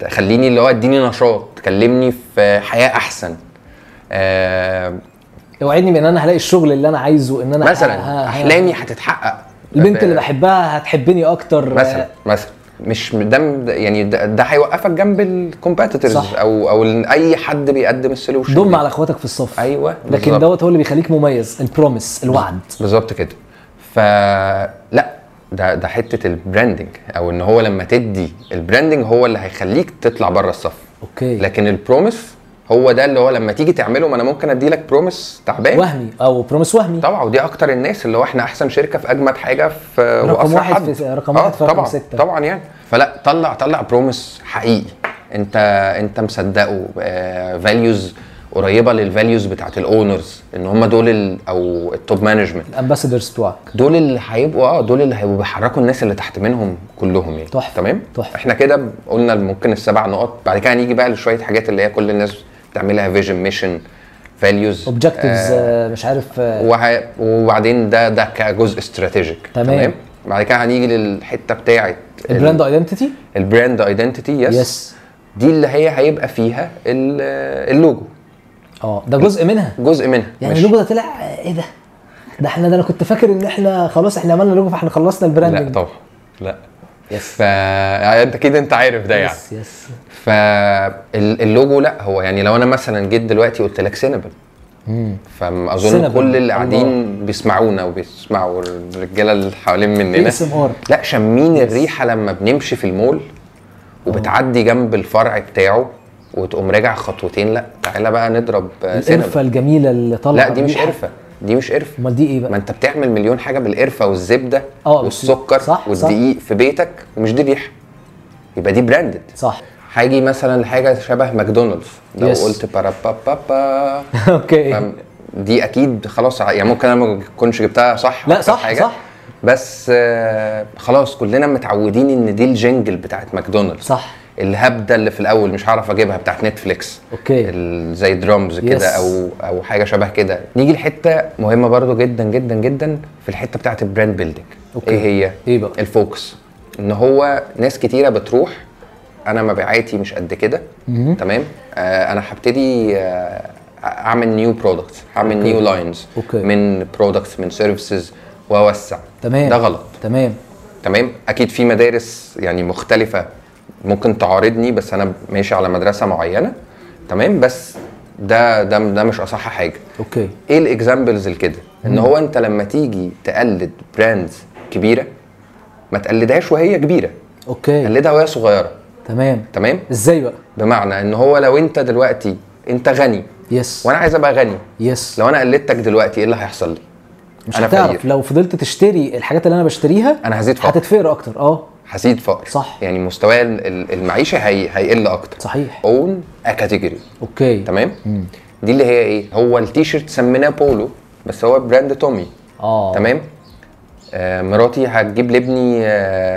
Speaker 2: خليني اللي هو اديني نشاط كلمني في حياه احسن آه
Speaker 1: اوعدني بان انا هلاقي الشغل اللي انا عايزه ان انا ه-
Speaker 2: مثلا
Speaker 1: ه-
Speaker 2: احلامي هتتحقق آه،
Speaker 1: البنت اللي بحبها هتحبني اكتر
Speaker 2: مثلا مثلا مش ده م- يعني ده ده هيوقفك جنب الكومبيتيتورز
Speaker 1: صح.
Speaker 2: او او ال- اي حد بيقدم السولوشن
Speaker 1: ضم على اخواتك في الصف
Speaker 2: ايوه
Speaker 1: لكن
Speaker 2: بالظبط.
Speaker 1: دوت هو اللي بيخليك مميز البروميس الوعد
Speaker 2: بالظبط كده فلا ده ده حته البراندنج او ان هو لما تدي البراندنج هو اللي هيخليك تطلع بره الصف
Speaker 1: اوكي
Speaker 2: لكن البروميس هو ده اللي هو لما تيجي تعمله ما انا ممكن ادي لك بروميس تعبان
Speaker 1: وهمي او بروميس وهمي
Speaker 2: طبعا ودي اكتر الناس اللي هو احنا احسن شركه في اجمد حاجه في
Speaker 1: رقم
Speaker 2: وأسرع
Speaker 1: واحد
Speaker 2: حد.
Speaker 1: في- رقم واحد في رقم
Speaker 2: طبعا
Speaker 1: ستة.
Speaker 2: طبعا آه، يعني فلا طلع طلع بروميس حقيقي انت انت مصدقه آه، فاليوز قريبه للفاليوز بتاعت الاونرز ان هم دول ال او التوب مانجمنت
Speaker 1: الامباسادرز بتوعك
Speaker 2: دول اللي هيبقوا اه دول اللي هيبقوا بيحركوا الناس اللي تحت منهم كلهم يعني
Speaker 1: تحفة.
Speaker 2: تمام
Speaker 1: تحفة.
Speaker 2: احنا كده قلنا ممكن السبع نقط بعد كده هنيجي بقى لشويه حاجات اللي هي كل الناس بتعملها فيجن ميشن فاليوز
Speaker 1: اوبجكتيفز مش عارف آه،
Speaker 2: وه... وبعدين ده ده كجزء استراتيجيك
Speaker 1: تمام.
Speaker 2: بعد كده هنيجي للحته بتاعه
Speaker 1: البراند ايدنتيتي
Speaker 2: البراند ايدنتيتي يس
Speaker 1: يس
Speaker 2: دي اللي هي هيبقى فيها ال- اللوجو
Speaker 1: اه ده جزء منها
Speaker 2: جزء منها
Speaker 1: يعني
Speaker 2: مش-
Speaker 1: اللوجو ده طلع آه، ايه ده ده احنا ده انا كنت فاكر ان احنا خلاص احنا عملنا لوجو فاحنا خلصنا
Speaker 2: لا
Speaker 1: البراندنج
Speaker 2: طبعا لا
Speaker 1: يس
Speaker 2: ف يعني انت كده انت عارف ده يعني
Speaker 1: يس يس
Speaker 2: فاللوجو لا هو يعني لو انا مثلا جيت دلوقتي قلت لك سينابل
Speaker 1: سينابل.
Speaker 2: فاظن كل اللي قاعدين بيسمعونا وبيسمعوا الرجاله اللي حوالين مننا
Speaker 1: اس ام ار
Speaker 2: لا شامين الريحه لما بنمشي في المول وبتعدي جنب الفرع بتاعه وتقوم راجع خطوتين لا تعالى بقى نضرب آه،
Speaker 1: القرفه
Speaker 2: سينابل
Speaker 1: الجميله اللي طالعه
Speaker 2: لا دي مش قرفه دي مش قرفه
Speaker 1: امال دي ايه
Speaker 2: ما
Speaker 1: بقى
Speaker 2: انت بتعمل مليون حاجه بالقرفه والزبده
Speaker 1: آه، بس-
Speaker 2: والسكر
Speaker 1: صح، صح.
Speaker 2: والدقيق في بيتك ومش دي ريحه يبقى دي براندد
Speaker 1: صح
Speaker 2: هاجي مثلا لحاجه شبه ماكدونالدز لو
Speaker 1: Yes.
Speaker 2: قلت بارا با با با
Speaker 1: اوكي
Speaker 2: فاهم؟ دي اكيد خلاص ع- يعني ممكن انا ما كنتش جبتها صح
Speaker 1: لا،
Speaker 2: أكتر
Speaker 1: صح، صح.
Speaker 2: بس آه، خلاص كلنا متعودين ان دي الجنجل بتاعت ماكدونالدز
Speaker 1: صح
Speaker 2: الهبده اللي في الاول مش هعرف اجيبها بتاعت نتفليكس
Speaker 1: اوكي
Speaker 2: ال- زي درامز
Speaker 1: Yes.
Speaker 2: كده او او حاجه شبه كده نيجي لحته مهمه برضو جدا جدا جدا في الحته بتاعت البراند بيلدينج
Speaker 1: أوكي.
Speaker 2: ايه هي
Speaker 1: ايه بقى
Speaker 2: الفوكس ان هو ناس كتيره بتروح انا مبيعاتي مش قد كده تمام آه انا هبتدي آه اعمل نيو برودكتس اعمل نيو لاينز
Speaker 1: أوكي.
Speaker 2: من برودكتس من سيرفيسز واوسع
Speaker 1: تمام
Speaker 2: ده غلط
Speaker 1: تمام
Speaker 2: تمام اكيد في مدارس يعني مختلفه ممكن تعارضني بس انا ماشي على مدرسه معينه تمام بس ده ده ده مش اصح حاجه
Speaker 1: اوكي
Speaker 2: ايه الاكزامبلز لكده ان هو انت لما تيجي تقلد براندز كبيره ما تقلدهاش وهي كبيره
Speaker 1: اوكي
Speaker 2: قلدها وهي صغيره
Speaker 1: تمام
Speaker 2: تمام
Speaker 1: ازاي بقى
Speaker 2: بمعنى ان هو لو انت دلوقتي انت غني
Speaker 1: يس
Speaker 2: وانا عايز ابقى غني
Speaker 1: يس
Speaker 2: لو انا قلدتك دلوقتي ايه اللي هيحصل لي
Speaker 1: مش
Speaker 2: أنا
Speaker 1: هتعرف
Speaker 2: فقير.
Speaker 1: لو فضلت تشتري الحاجات اللي انا بشتريها
Speaker 2: انا هزيد فقر
Speaker 1: هتتفقر اكتر اه
Speaker 2: هزيد فقر
Speaker 1: صح.
Speaker 2: يعني مستوى ال- ال- المعيشه هي... هيقل اكتر
Speaker 1: صحيح
Speaker 2: اون كاتيجوري
Speaker 1: اوكي
Speaker 2: تمام دي اللي هي ايه هو التيشيرت سميناه بولو بس هو براند تومي
Speaker 1: اه
Speaker 2: تمام آه، مراتي هتجيب لابني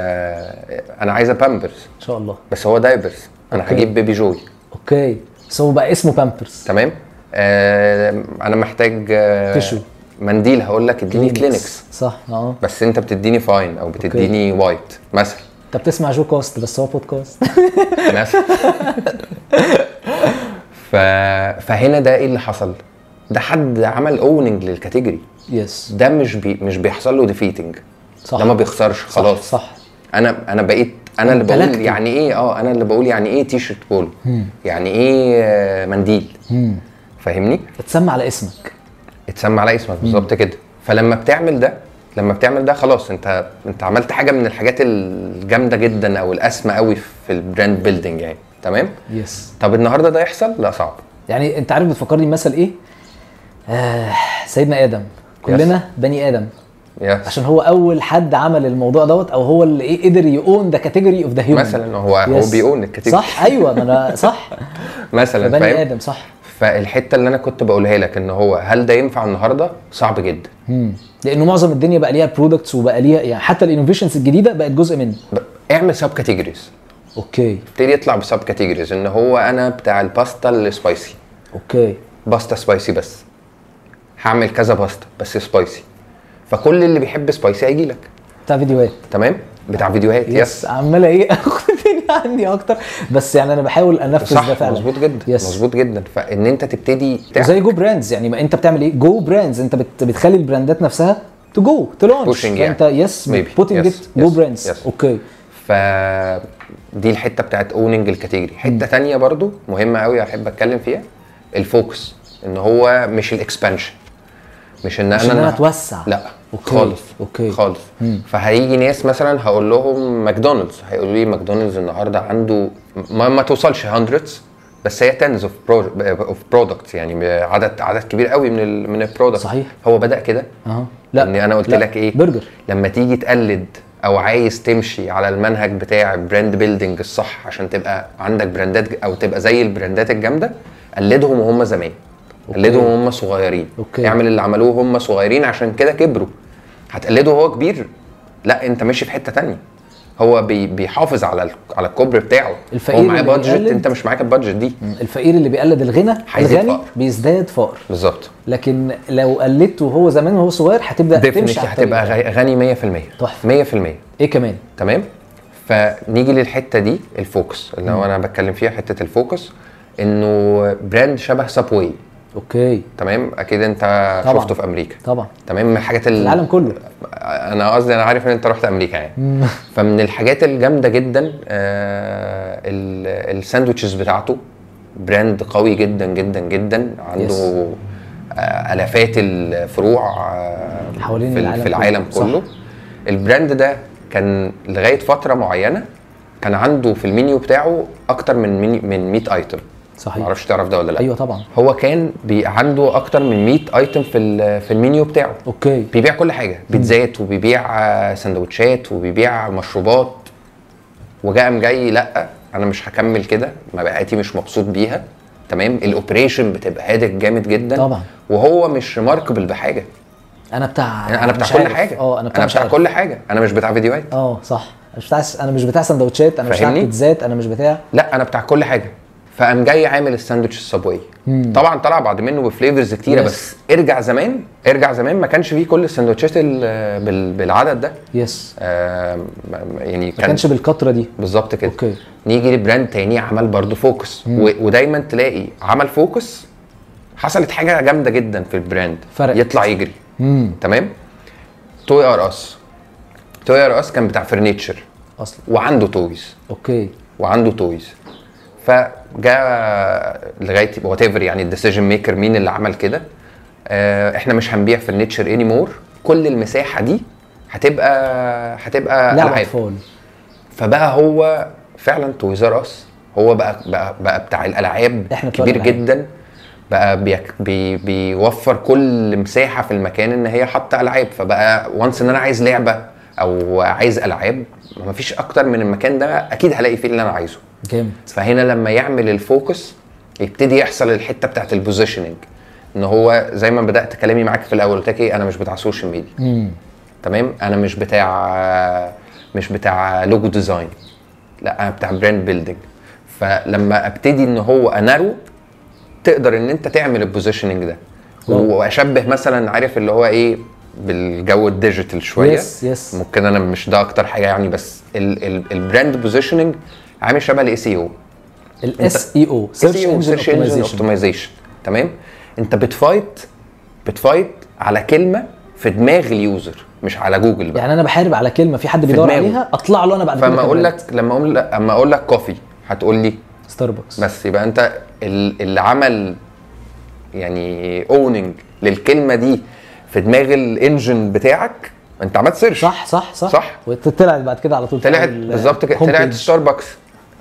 Speaker 2: آه، انا عايزه بامبرز
Speaker 1: ان شاء الله
Speaker 2: بس هو دايبرز انا
Speaker 1: أوكي.
Speaker 2: هجيب بيبي جوي
Speaker 1: اوكي بس هو بقى اسمه بامبرز
Speaker 2: تمام آه، انا محتاج آه،
Speaker 1: تشو
Speaker 2: منديل هقول لك اديني كلينكس
Speaker 1: صح اه
Speaker 2: بس انت بتديني فاين او بتديني وايت مثلا
Speaker 1: انت بتسمع جو كوست بس هو بودكاست
Speaker 2: مثلا ف... فهنا ده ايه اللي حصل ده حد عمل اوننج للكاتيجوري
Speaker 1: يس
Speaker 2: ده مش بي... مش بيحصل له ديفيتنج
Speaker 1: صح
Speaker 2: ده ما بيخسرش
Speaker 1: صح،
Speaker 2: خلاص
Speaker 1: صح
Speaker 2: انا انا بقيت انا اللي بقول
Speaker 1: ممتلكته.
Speaker 2: يعني ايه اه انا اللي بقول يعني ايه تي شيرت بول يعني ايه آه، منديل
Speaker 1: امم
Speaker 2: فاهمني
Speaker 1: اتسمى على اسمك
Speaker 2: اتسمى على اسمك بالظبط كده فلما بتعمل ده لما بتعمل ده خلاص انت انت عملت حاجه من الحاجات الجامده جدا او الاسمى قوي في البراند بيلدينج يعني تمام
Speaker 1: يس
Speaker 2: طب النهارده ده يحصل لا صعب
Speaker 1: يعني انت عارف بتفكرني بمثل ايه آه سيدنا ادم كلنا بني ادم
Speaker 2: يس.
Speaker 1: عشان هو اول حد عمل الموضوع دوت او هو اللي ايه قدر يؤون ذا كاتيجوري اوف ذا هيومن
Speaker 2: مثلا هو هو بيقول الكاتيجوري
Speaker 1: صح ايوه ما انا صح
Speaker 2: مثلا
Speaker 1: بني
Speaker 2: فاهم
Speaker 1: ادم صح
Speaker 2: فالحته اللي انا كنت بقولها لك ان هو هل ده ينفع النهارده صعب جدا
Speaker 1: مم. لانه معظم الدنيا بقى ليها برودكتس وبقى ليها يعني حتى الانوفيشنز الجديده بقت جزء منه
Speaker 2: ب- اعمل سب كاتيجوريز
Speaker 1: اوكي
Speaker 2: ابتدي يطلع بسب كاتيجوريز ان هو انا بتاع الباستا السبايسي
Speaker 1: اوكي
Speaker 2: باستا سبايسي بس هعمل كذا باستا بس سبايسي فكل اللي بيحب سبايسي هيجي لك
Speaker 1: بتاع فيديوهات
Speaker 2: تمام بتاع فيديوهات يس,
Speaker 1: عمال ايه اخد الدنيا عندي اكتر بس يعني انا بحاول انفذ ده
Speaker 2: صح
Speaker 1: فعلا
Speaker 2: مظبوط جدا
Speaker 1: يس.
Speaker 2: مظبوط جدا فان انت تبتدي تعمل
Speaker 1: زي جو براندز يعني ما انت بتعمل ايه جو براندز انت بت بتخلي البراندات نفسها تو جو تو لونش
Speaker 2: Pushing يعني.
Speaker 1: انت يس
Speaker 2: Maybe.
Speaker 1: بوتنج
Speaker 2: Yes.
Speaker 1: ات جو
Speaker 2: Yes.
Speaker 1: براندز
Speaker 2: Yes.
Speaker 1: اوكي
Speaker 2: ف دي الحته بتاعت اوننج الكاتيجوري حته تانية برضو مهمه قوي احب اتكلم فيها الفوكس ان هو مش الاكسبانشن مش ان
Speaker 1: مش
Speaker 2: انا
Speaker 1: ان انا
Speaker 2: النهار-
Speaker 1: اتوسع
Speaker 2: لا
Speaker 1: أوكي.
Speaker 2: خالص
Speaker 1: أوكي.
Speaker 2: خالص فهيجي ناس مثلا هقول لهم ماكدونالدز هيقولوا لي ماكدونالدز النهارده عنده ما, ما توصلش هندردز بس هي تنز اوف اوف برودكتس يعني عدد عدد كبير قوي من ال من البرودكت
Speaker 1: صحيح.
Speaker 2: هو بدا كده
Speaker 1: اها
Speaker 2: لا اني انا قلت
Speaker 1: لا.
Speaker 2: لك ايه
Speaker 1: برجر
Speaker 2: لما تيجي تقلد او عايز تمشي على المنهج بتاع البراند بيلدينج الصح عشان تبقى عندك براندات او تبقى زي البراندات الجامده قلدهم وهم زمان قلدهم وهم صغيرين
Speaker 1: أوكي.
Speaker 2: اعمل اللي عملوه وهم صغيرين عشان كده كبروا هتقلده وهو كبير لا انت ماشي في حته تانية هو بي بيحافظ على ال- على الكوبري بتاعه
Speaker 1: الفقير
Speaker 2: هو معاه
Speaker 1: اللي
Speaker 2: بادجت
Speaker 1: بيقلد-
Speaker 2: انت مش معاك البادجت دي
Speaker 1: الفقير اللي بيقلد الغنى
Speaker 2: هيزيد
Speaker 1: الغني
Speaker 2: فقر.
Speaker 1: بيزداد فقر
Speaker 2: بالظبط
Speaker 1: لكن لو قلدته وهو زمان وهو صغير هتبدا تمشي
Speaker 2: ديفنتلي
Speaker 1: على الطريق.
Speaker 2: هتبقى غ- غني 100%
Speaker 1: تحفة.
Speaker 2: 100%
Speaker 1: ايه كمان
Speaker 2: تمام فنيجي للحته دي الفوكس اللي هو انا بتكلم فيها حته الفوكس انه براند شبه سابوي
Speaker 1: اوكي
Speaker 2: تمام اكيد انت
Speaker 1: طبعا.
Speaker 2: شفته في امريكا
Speaker 1: طبعا
Speaker 2: تمام من الحاجات ال...
Speaker 1: العالم كله
Speaker 2: انا قصدي انا عارف ان انت رحت امريكا يعني فمن الحاجات الجامده جدا آه ال- الساندوتشز بتاعته براند قوي جدا جدا جدا عنده آه الافات الفروع آه
Speaker 1: حوالين
Speaker 2: في,
Speaker 1: العالم
Speaker 2: في العالم
Speaker 1: كله. صح.
Speaker 2: كله البراند ده كان لغايه فتره معينه كان عنده في المنيو بتاعه اكتر من مني- من 100 ايتم
Speaker 1: صحيح
Speaker 2: معرفش تعرف ده ولا لا
Speaker 1: ايوه طبعا
Speaker 2: هو كان بي عنده اكتر من 100 ايتم في ال- في المنيو بتاعه
Speaker 1: اوكي
Speaker 2: بيبيع كل حاجه بيتزات وبيبيع آه، سندوتشات وبيبيع مشروبات وجاء قام جاي لا انا مش هكمل كده مبيعاتي مش مبسوط بيها تمام الاوبريشن بتبقى هادئ جامد جدا
Speaker 1: طبعا.
Speaker 2: وهو مش ماركبل بحاجه
Speaker 1: انا بتاع
Speaker 2: انا بتاع
Speaker 1: مش
Speaker 2: كل
Speaker 1: عارف.
Speaker 2: حاجه
Speaker 1: اه انا بتاع,
Speaker 2: انا
Speaker 1: مش
Speaker 2: بتاع
Speaker 1: عارف.
Speaker 2: كل حاجه انا مش بتاع فيديوهات
Speaker 1: اه صح انا مش بتاع انا مش بتاع سندوتشات انا مش بتاع
Speaker 2: فاهمني؟
Speaker 1: بيتزات انا مش بتاع
Speaker 2: لا انا بتاع كل حاجه فقام جاي عامل الساندوتش الصابوي طبعا طلع بعد منه بفليفرز كتيره
Speaker 1: Yes.
Speaker 2: بس ارجع زمان ارجع زمان ما كانش فيه كل السندوتشات ال- بال- بالعدد ده
Speaker 1: يس
Speaker 2: آم، يعني
Speaker 1: ما
Speaker 2: كان
Speaker 1: كانش بالكتره دي
Speaker 2: بالظبط كده
Speaker 1: اوكي
Speaker 2: نيجي لبراند تاني عمل برضه فوكس و... ودايما تلاقي عمل فوكس حصلت حاجه جامده جدا في البراند
Speaker 1: فرقت.
Speaker 2: يطلع يجري
Speaker 1: امم
Speaker 2: تمام توي ار اس توي ار اس كان بتاع فرنيتشر
Speaker 1: اصلا
Speaker 2: وعنده تويز
Speaker 1: اوكي
Speaker 2: وعنده تويز فجاء لغايه وات ايفر يعني الديسيجن ميكر مين اللي عمل كده آه، احنا مش هنبيع فرنيتشر اني مور كل المساحه دي هتبقى هتبقى
Speaker 1: لعب
Speaker 2: العاب
Speaker 1: اطفال
Speaker 2: فبقى هو فعلا تويزر اس هو بقى بقى, بقى بتاع الالعاب
Speaker 1: إحنا بتوع
Speaker 2: كبير
Speaker 1: الألعاب.
Speaker 2: جدا بقى بيك بي بيوفر كل مساحه في المكان ان هي حاطه العاب فبقى وانس ان انا عايز لعبه او عايز العاب مفيش اكتر من المكان ده اكيد هلاقي فيه اللي انا عايزه
Speaker 1: جامد
Speaker 2: فهنا لما يعمل الفوكس يبتدي يحصل الحته بتاعت إيه، البوزيشننج ان هو زي ما بدات كلامي معاك في الاول قلت لك ايه انا مش بتاع سوشيال ميديا
Speaker 1: امم
Speaker 2: تمام انا مش بتاع مش بتاع لوجو ديزاين لا انا بتاع براند بيلدينج فلما ابتدي ان هو انارو تقدر ان انت تعمل البوزيشننج ده
Speaker 1: واو.
Speaker 2: واشبه مثلا عارف اللي هو ايه بالجو الديجيتال شويه
Speaker 1: يس يس
Speaker 2: ممكن انا مش ده اكتر حاجه يعني بس ال- ال- البراند بوزيشننج عامل شبه E الاي سي او
Speaker 1: الاس
Speaker 2: E
Speaker 1: اي او
Speaker 2: سيرش انجن اوبتمايزيشن تمام انت بتفايت بتفايت على كلمه في دماغ اليوزر مش على جوجل بقى
Speaker 1: يعني انا بحارب على كلمه في حد بيدور
Speaker 2: دماغه.
Speaker 1: عليها اطلع له انا بعد
Speaker 2: فما اقول لك لما اقول لك اما اقول لك كوفي هتقول لي
Speaker 1: ستاربكس
Speaker 2: بس يبقى انت ال- اللي عمل يعني اوننج للكلمه دي في دماغ الانجن بتاعك انت عملت سيرش
Speaker 1: صح صح صح
Speaker 2: صح.
Speaker 1: وطلعت بعد كده على طول في
Speaker 2: طلعت
Speaker 1: ال-
Speaker 2: بالظبط كده
Speaker 1: home
Speaker 2: طلعت
Speaker 1: page.
Speaker 2: ستاربكس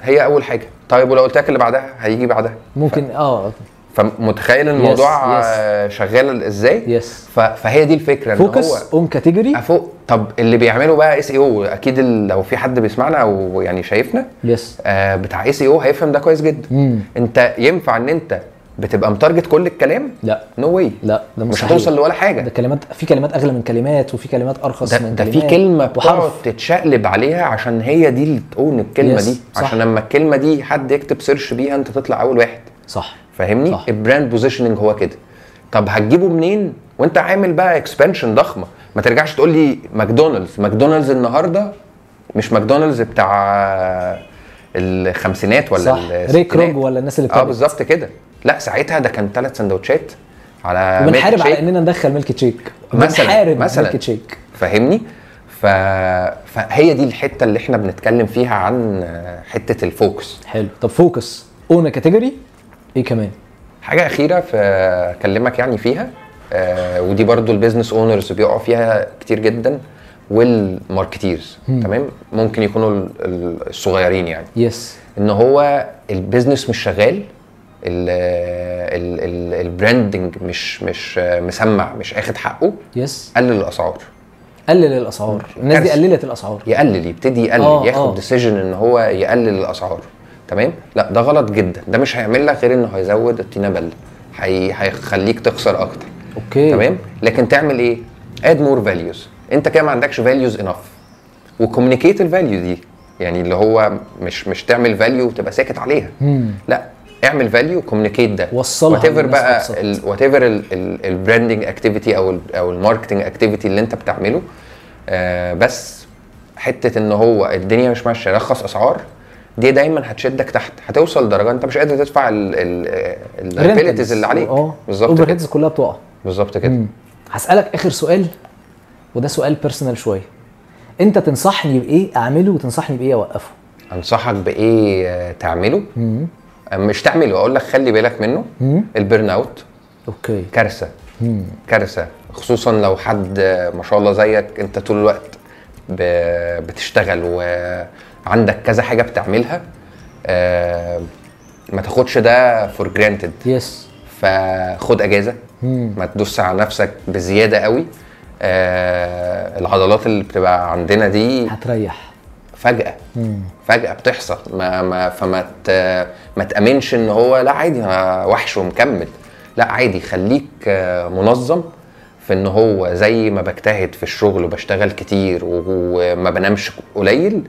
Speaker 2: هي اول حاجه طيب ولو قلت لك اللي بعدها هيجي بعدها
Speaker 1: ممكن اه
Speaker 2: فمتخيل الموضوع
Speaker 1: yes.
Speaker 2: آه، شغال ازاي
Speaker 1: يس
Speaker 2: ف- فهي دي الفكره ان هو
Speaker 1: فوكس اون كاتيجوري
Speaker 2: فوق طب اللي بيعمله بقى اس اي او اكيد ال- لو في حد بيسمعنا او يعني شايفنا
Speaker 1: يس
Speaker 2: آه، بتاع اس اي او هيفهم ده كويس جدا
Speaker 1: مم.
Speaker 2: انت ينفع ان انت بتبقى متارجت كل الكلام
Speaker 1: لا
Speaker 2: نو no واي
Speaker 1: لا ده
Speaker 2: مش
Speaker 1: مستحيل.
Speaker 2: هتوصل لولا
Speaker 1: ده
Speaker 2: حاجه
Speaker 1: كلمات في كلمات اغلى من كلمات وفي كلمات ارخص
Speaker 2: ده,
Speaker 1: من
Speaker 2: ده في
Speaker 1: كلمات
Speaker 2: كلمه بتقعد
Speaker 1: وحرف
Speaker 2: تتشقلب عليها عشان هي دي اللي تقول الكلمه
Speaker 1: Yes،
Speaker 2: دي
Speaker 1: صح.
Speaker 2: عشان لما الكلمه دي حد يكتب سيرش بيها انت تطلع اول واحد
Speaker 1: صح
Speaker 2: فاهمني
Speaker 1: صح.
Speaker 2: البراند بوزيشننج هو كده طب هتجيبه منين وانت عامل بقى اكسبانشن ضخمه ما ترجعش تقول لي ماكدونالدز ماكدونالدز النهارده مش ماكدونالدز بتاع الخمسينات ولا
Speaker 1: صح ريك
Speaker 2: الستينات.
Speaker 1: روج ولا الناس اللي
Speaker 2: اه
Speaker 1: بتعمل
Speaker 2: بالظبط كده لا ساعتها ده كان ثلاث سندوتشات على ميلك
Speaker 1: بنحارب على
Speaker 2: شيك.
Speaker 1: اننا ندخل ميلك تشيك
Speaker 2: مثلا-
Speaker 1: بنحارب
Speaker 2: مثلا.
Speaker 1: ميلك تشيك
Speaker 2: فاهمني ف... فهي دي الحته اللي احنا بنتكلم فيها عن حته الفوكس
Speaker 1: حلو طب فوكس اون كاتيجوري ايه كمان
Speaker 2: حاجه اخيره في اكلمك يعني فيها آه ودي برضو البيزنس اونرز بيقعوا فيها كتير جدا والماركتيرز تمام ممكن يكونوا ال- ال- الصغيرين يعني
Speaker 1: يس
Speaker 2: ان هو البيزنس مش شغال ال- ال- ال- البراندنج مش مش آه، مسمع مش اخد حقه
Speaker 1: يس
Speaker 2: قلل الاسعار
Speaker 1: قلل الاسعار الناس دي
Speaker 2: كارثة.
Speaker 1: قللت الاسعار
Speaker 2: يقلل يبتدي يقلل
Speaker 1: آه،
Speaker 2: أوه ياخد
Speaker 1: آه.
Speaker 2: ديسيجن ان هو يقلل الاسعار تمام لا ده غلط جدا ده مش هيعمل لك غير انه هيزود الطينه بله هي... هيخليك تخسر اكتر
Speaker 1: اوكي
Speaker 2: تمام لكن تعمل ايه اد مور فاليوز انت كده ما عندكش فاليوز انف وكوميونيكيت الفاليو دي يعني اللي هو مش مش تعمل فاليو وتبقى ساكت عليها
Speaker 1: مم.
Speaker 2: لا اعمل فاليو كوميونيكيت ده
Speaker 1: وصلها
Speaker 2: whatever
Speaker 1: للناس
Speaker 2: بقى
Speaker 1: أبسط.
Speaker 2: وات ايفر البراندنج اكتيفيتي او ال او الماركتنج اكتيفيتي اللي انت بتعمله آه بس حته ان هو الدنيا مش ماشيه رخص اسعار دي دايما هتشدك تحت هتوصل لدرجه انت مش قادر تدفع البيلتيز اللي عليك
Speaker 1: اه
Speaker 2: بالظبط
Speaker 1: اوفر
Speaker 2: كده
Speaker 1: هيدز كلها بتقع
Speaker 2: بالظبط كده
Speaker 1: هسالك اخر سؤال وده سؤال بيرسونال شويه انت تنصحني بايه اعمله وتنصحني بايه اوقفه
Speaker 2: انصحك بايه آه، تعمله آه، مش تعمله اقول لك خلي بالك منه البرن اوت
Speaker 1: اوكي
Speaker 2: كارثه
Speaker 1: Hmm.
Speaker 2: كارثه خصوصا لو حد آه، ما شاء الله زيك انت طول الوقت ب- بتشتغل وعندك كذا حاجه بتعملها آه، ما تاخدش ده فور جرانتد
Speaker 1: يس
Speaker 2: فخد اجازه
Speaker 1: Hmm.
Speaker 2: ما تدوس على نفسك بزياده قوي آه، العضلات اللي بتبقى عندنا دي
Speaker 1: هتريح Hmm.
Speaker 2: فجأة فجأة بتحصل ما ما فما ت... ما تأمنش ان هو لا عادي انا وحش ومكمل لا عادي خليك آه، منظم في ان هو زي ما بجتهد في الشغل وبشتغل كتير و- وما بنامش قليل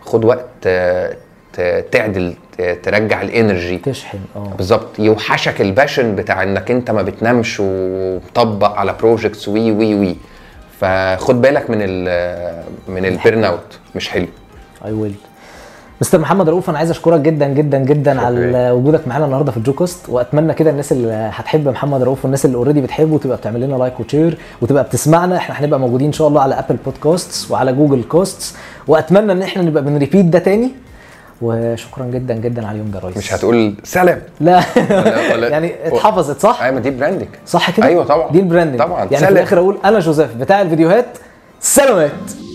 Speaker 2: خد وقت آه، ت- تعدل ت- ترجع الانرجي
Speaker 1: تشحن اه
Speaker 2: بالظبط يوحشك الباشن بتاع انك انت ما بتنامش ومطبق على بروجكتس وي وي وي فخد بالك من ال آه، من البيرن اوت مش حلو
Speaker 1: اي ويل مستر محمد رؤوف انا عايز اشكرك جدا جدا جدا على
Speaker 2: شكراً.
Speaker 1: وجودك معانا النهارده في الجوكست واتمنى كده الناس اللي هتحب محمد رؤوف والناس اللي اوريدي بتحبه تبقى بتعمل لنا لايك وشير وتبقى بتسمعنا احنا هنبقى موجودين ان شاء الله على ابل بودكاستس وعلى جوجل كاستس واتمنى ان احنا نبقى بنريبيت ده تاني وشكرا جدا جدا على اليوم ده يا ريس
Speaker 2: مش هتقول سلام
Speaker 1: لا
Speaker 2: ولا- ولا-
Speaker 1: يعني اتحفظت صح؟
Speaker 2: ايوه ما دي براندنج
Speaker 1: صح كده؟
Speaker 2: أيوة طبعاً.
Speaker 1: دي البراندنج
Speaker 2: طبعاً.
Speaker 1: يعني في
Speaker 2: سلام.
Speaker 1: الاخر اقول انا جوزيف بتاع الفيديوهات سلامات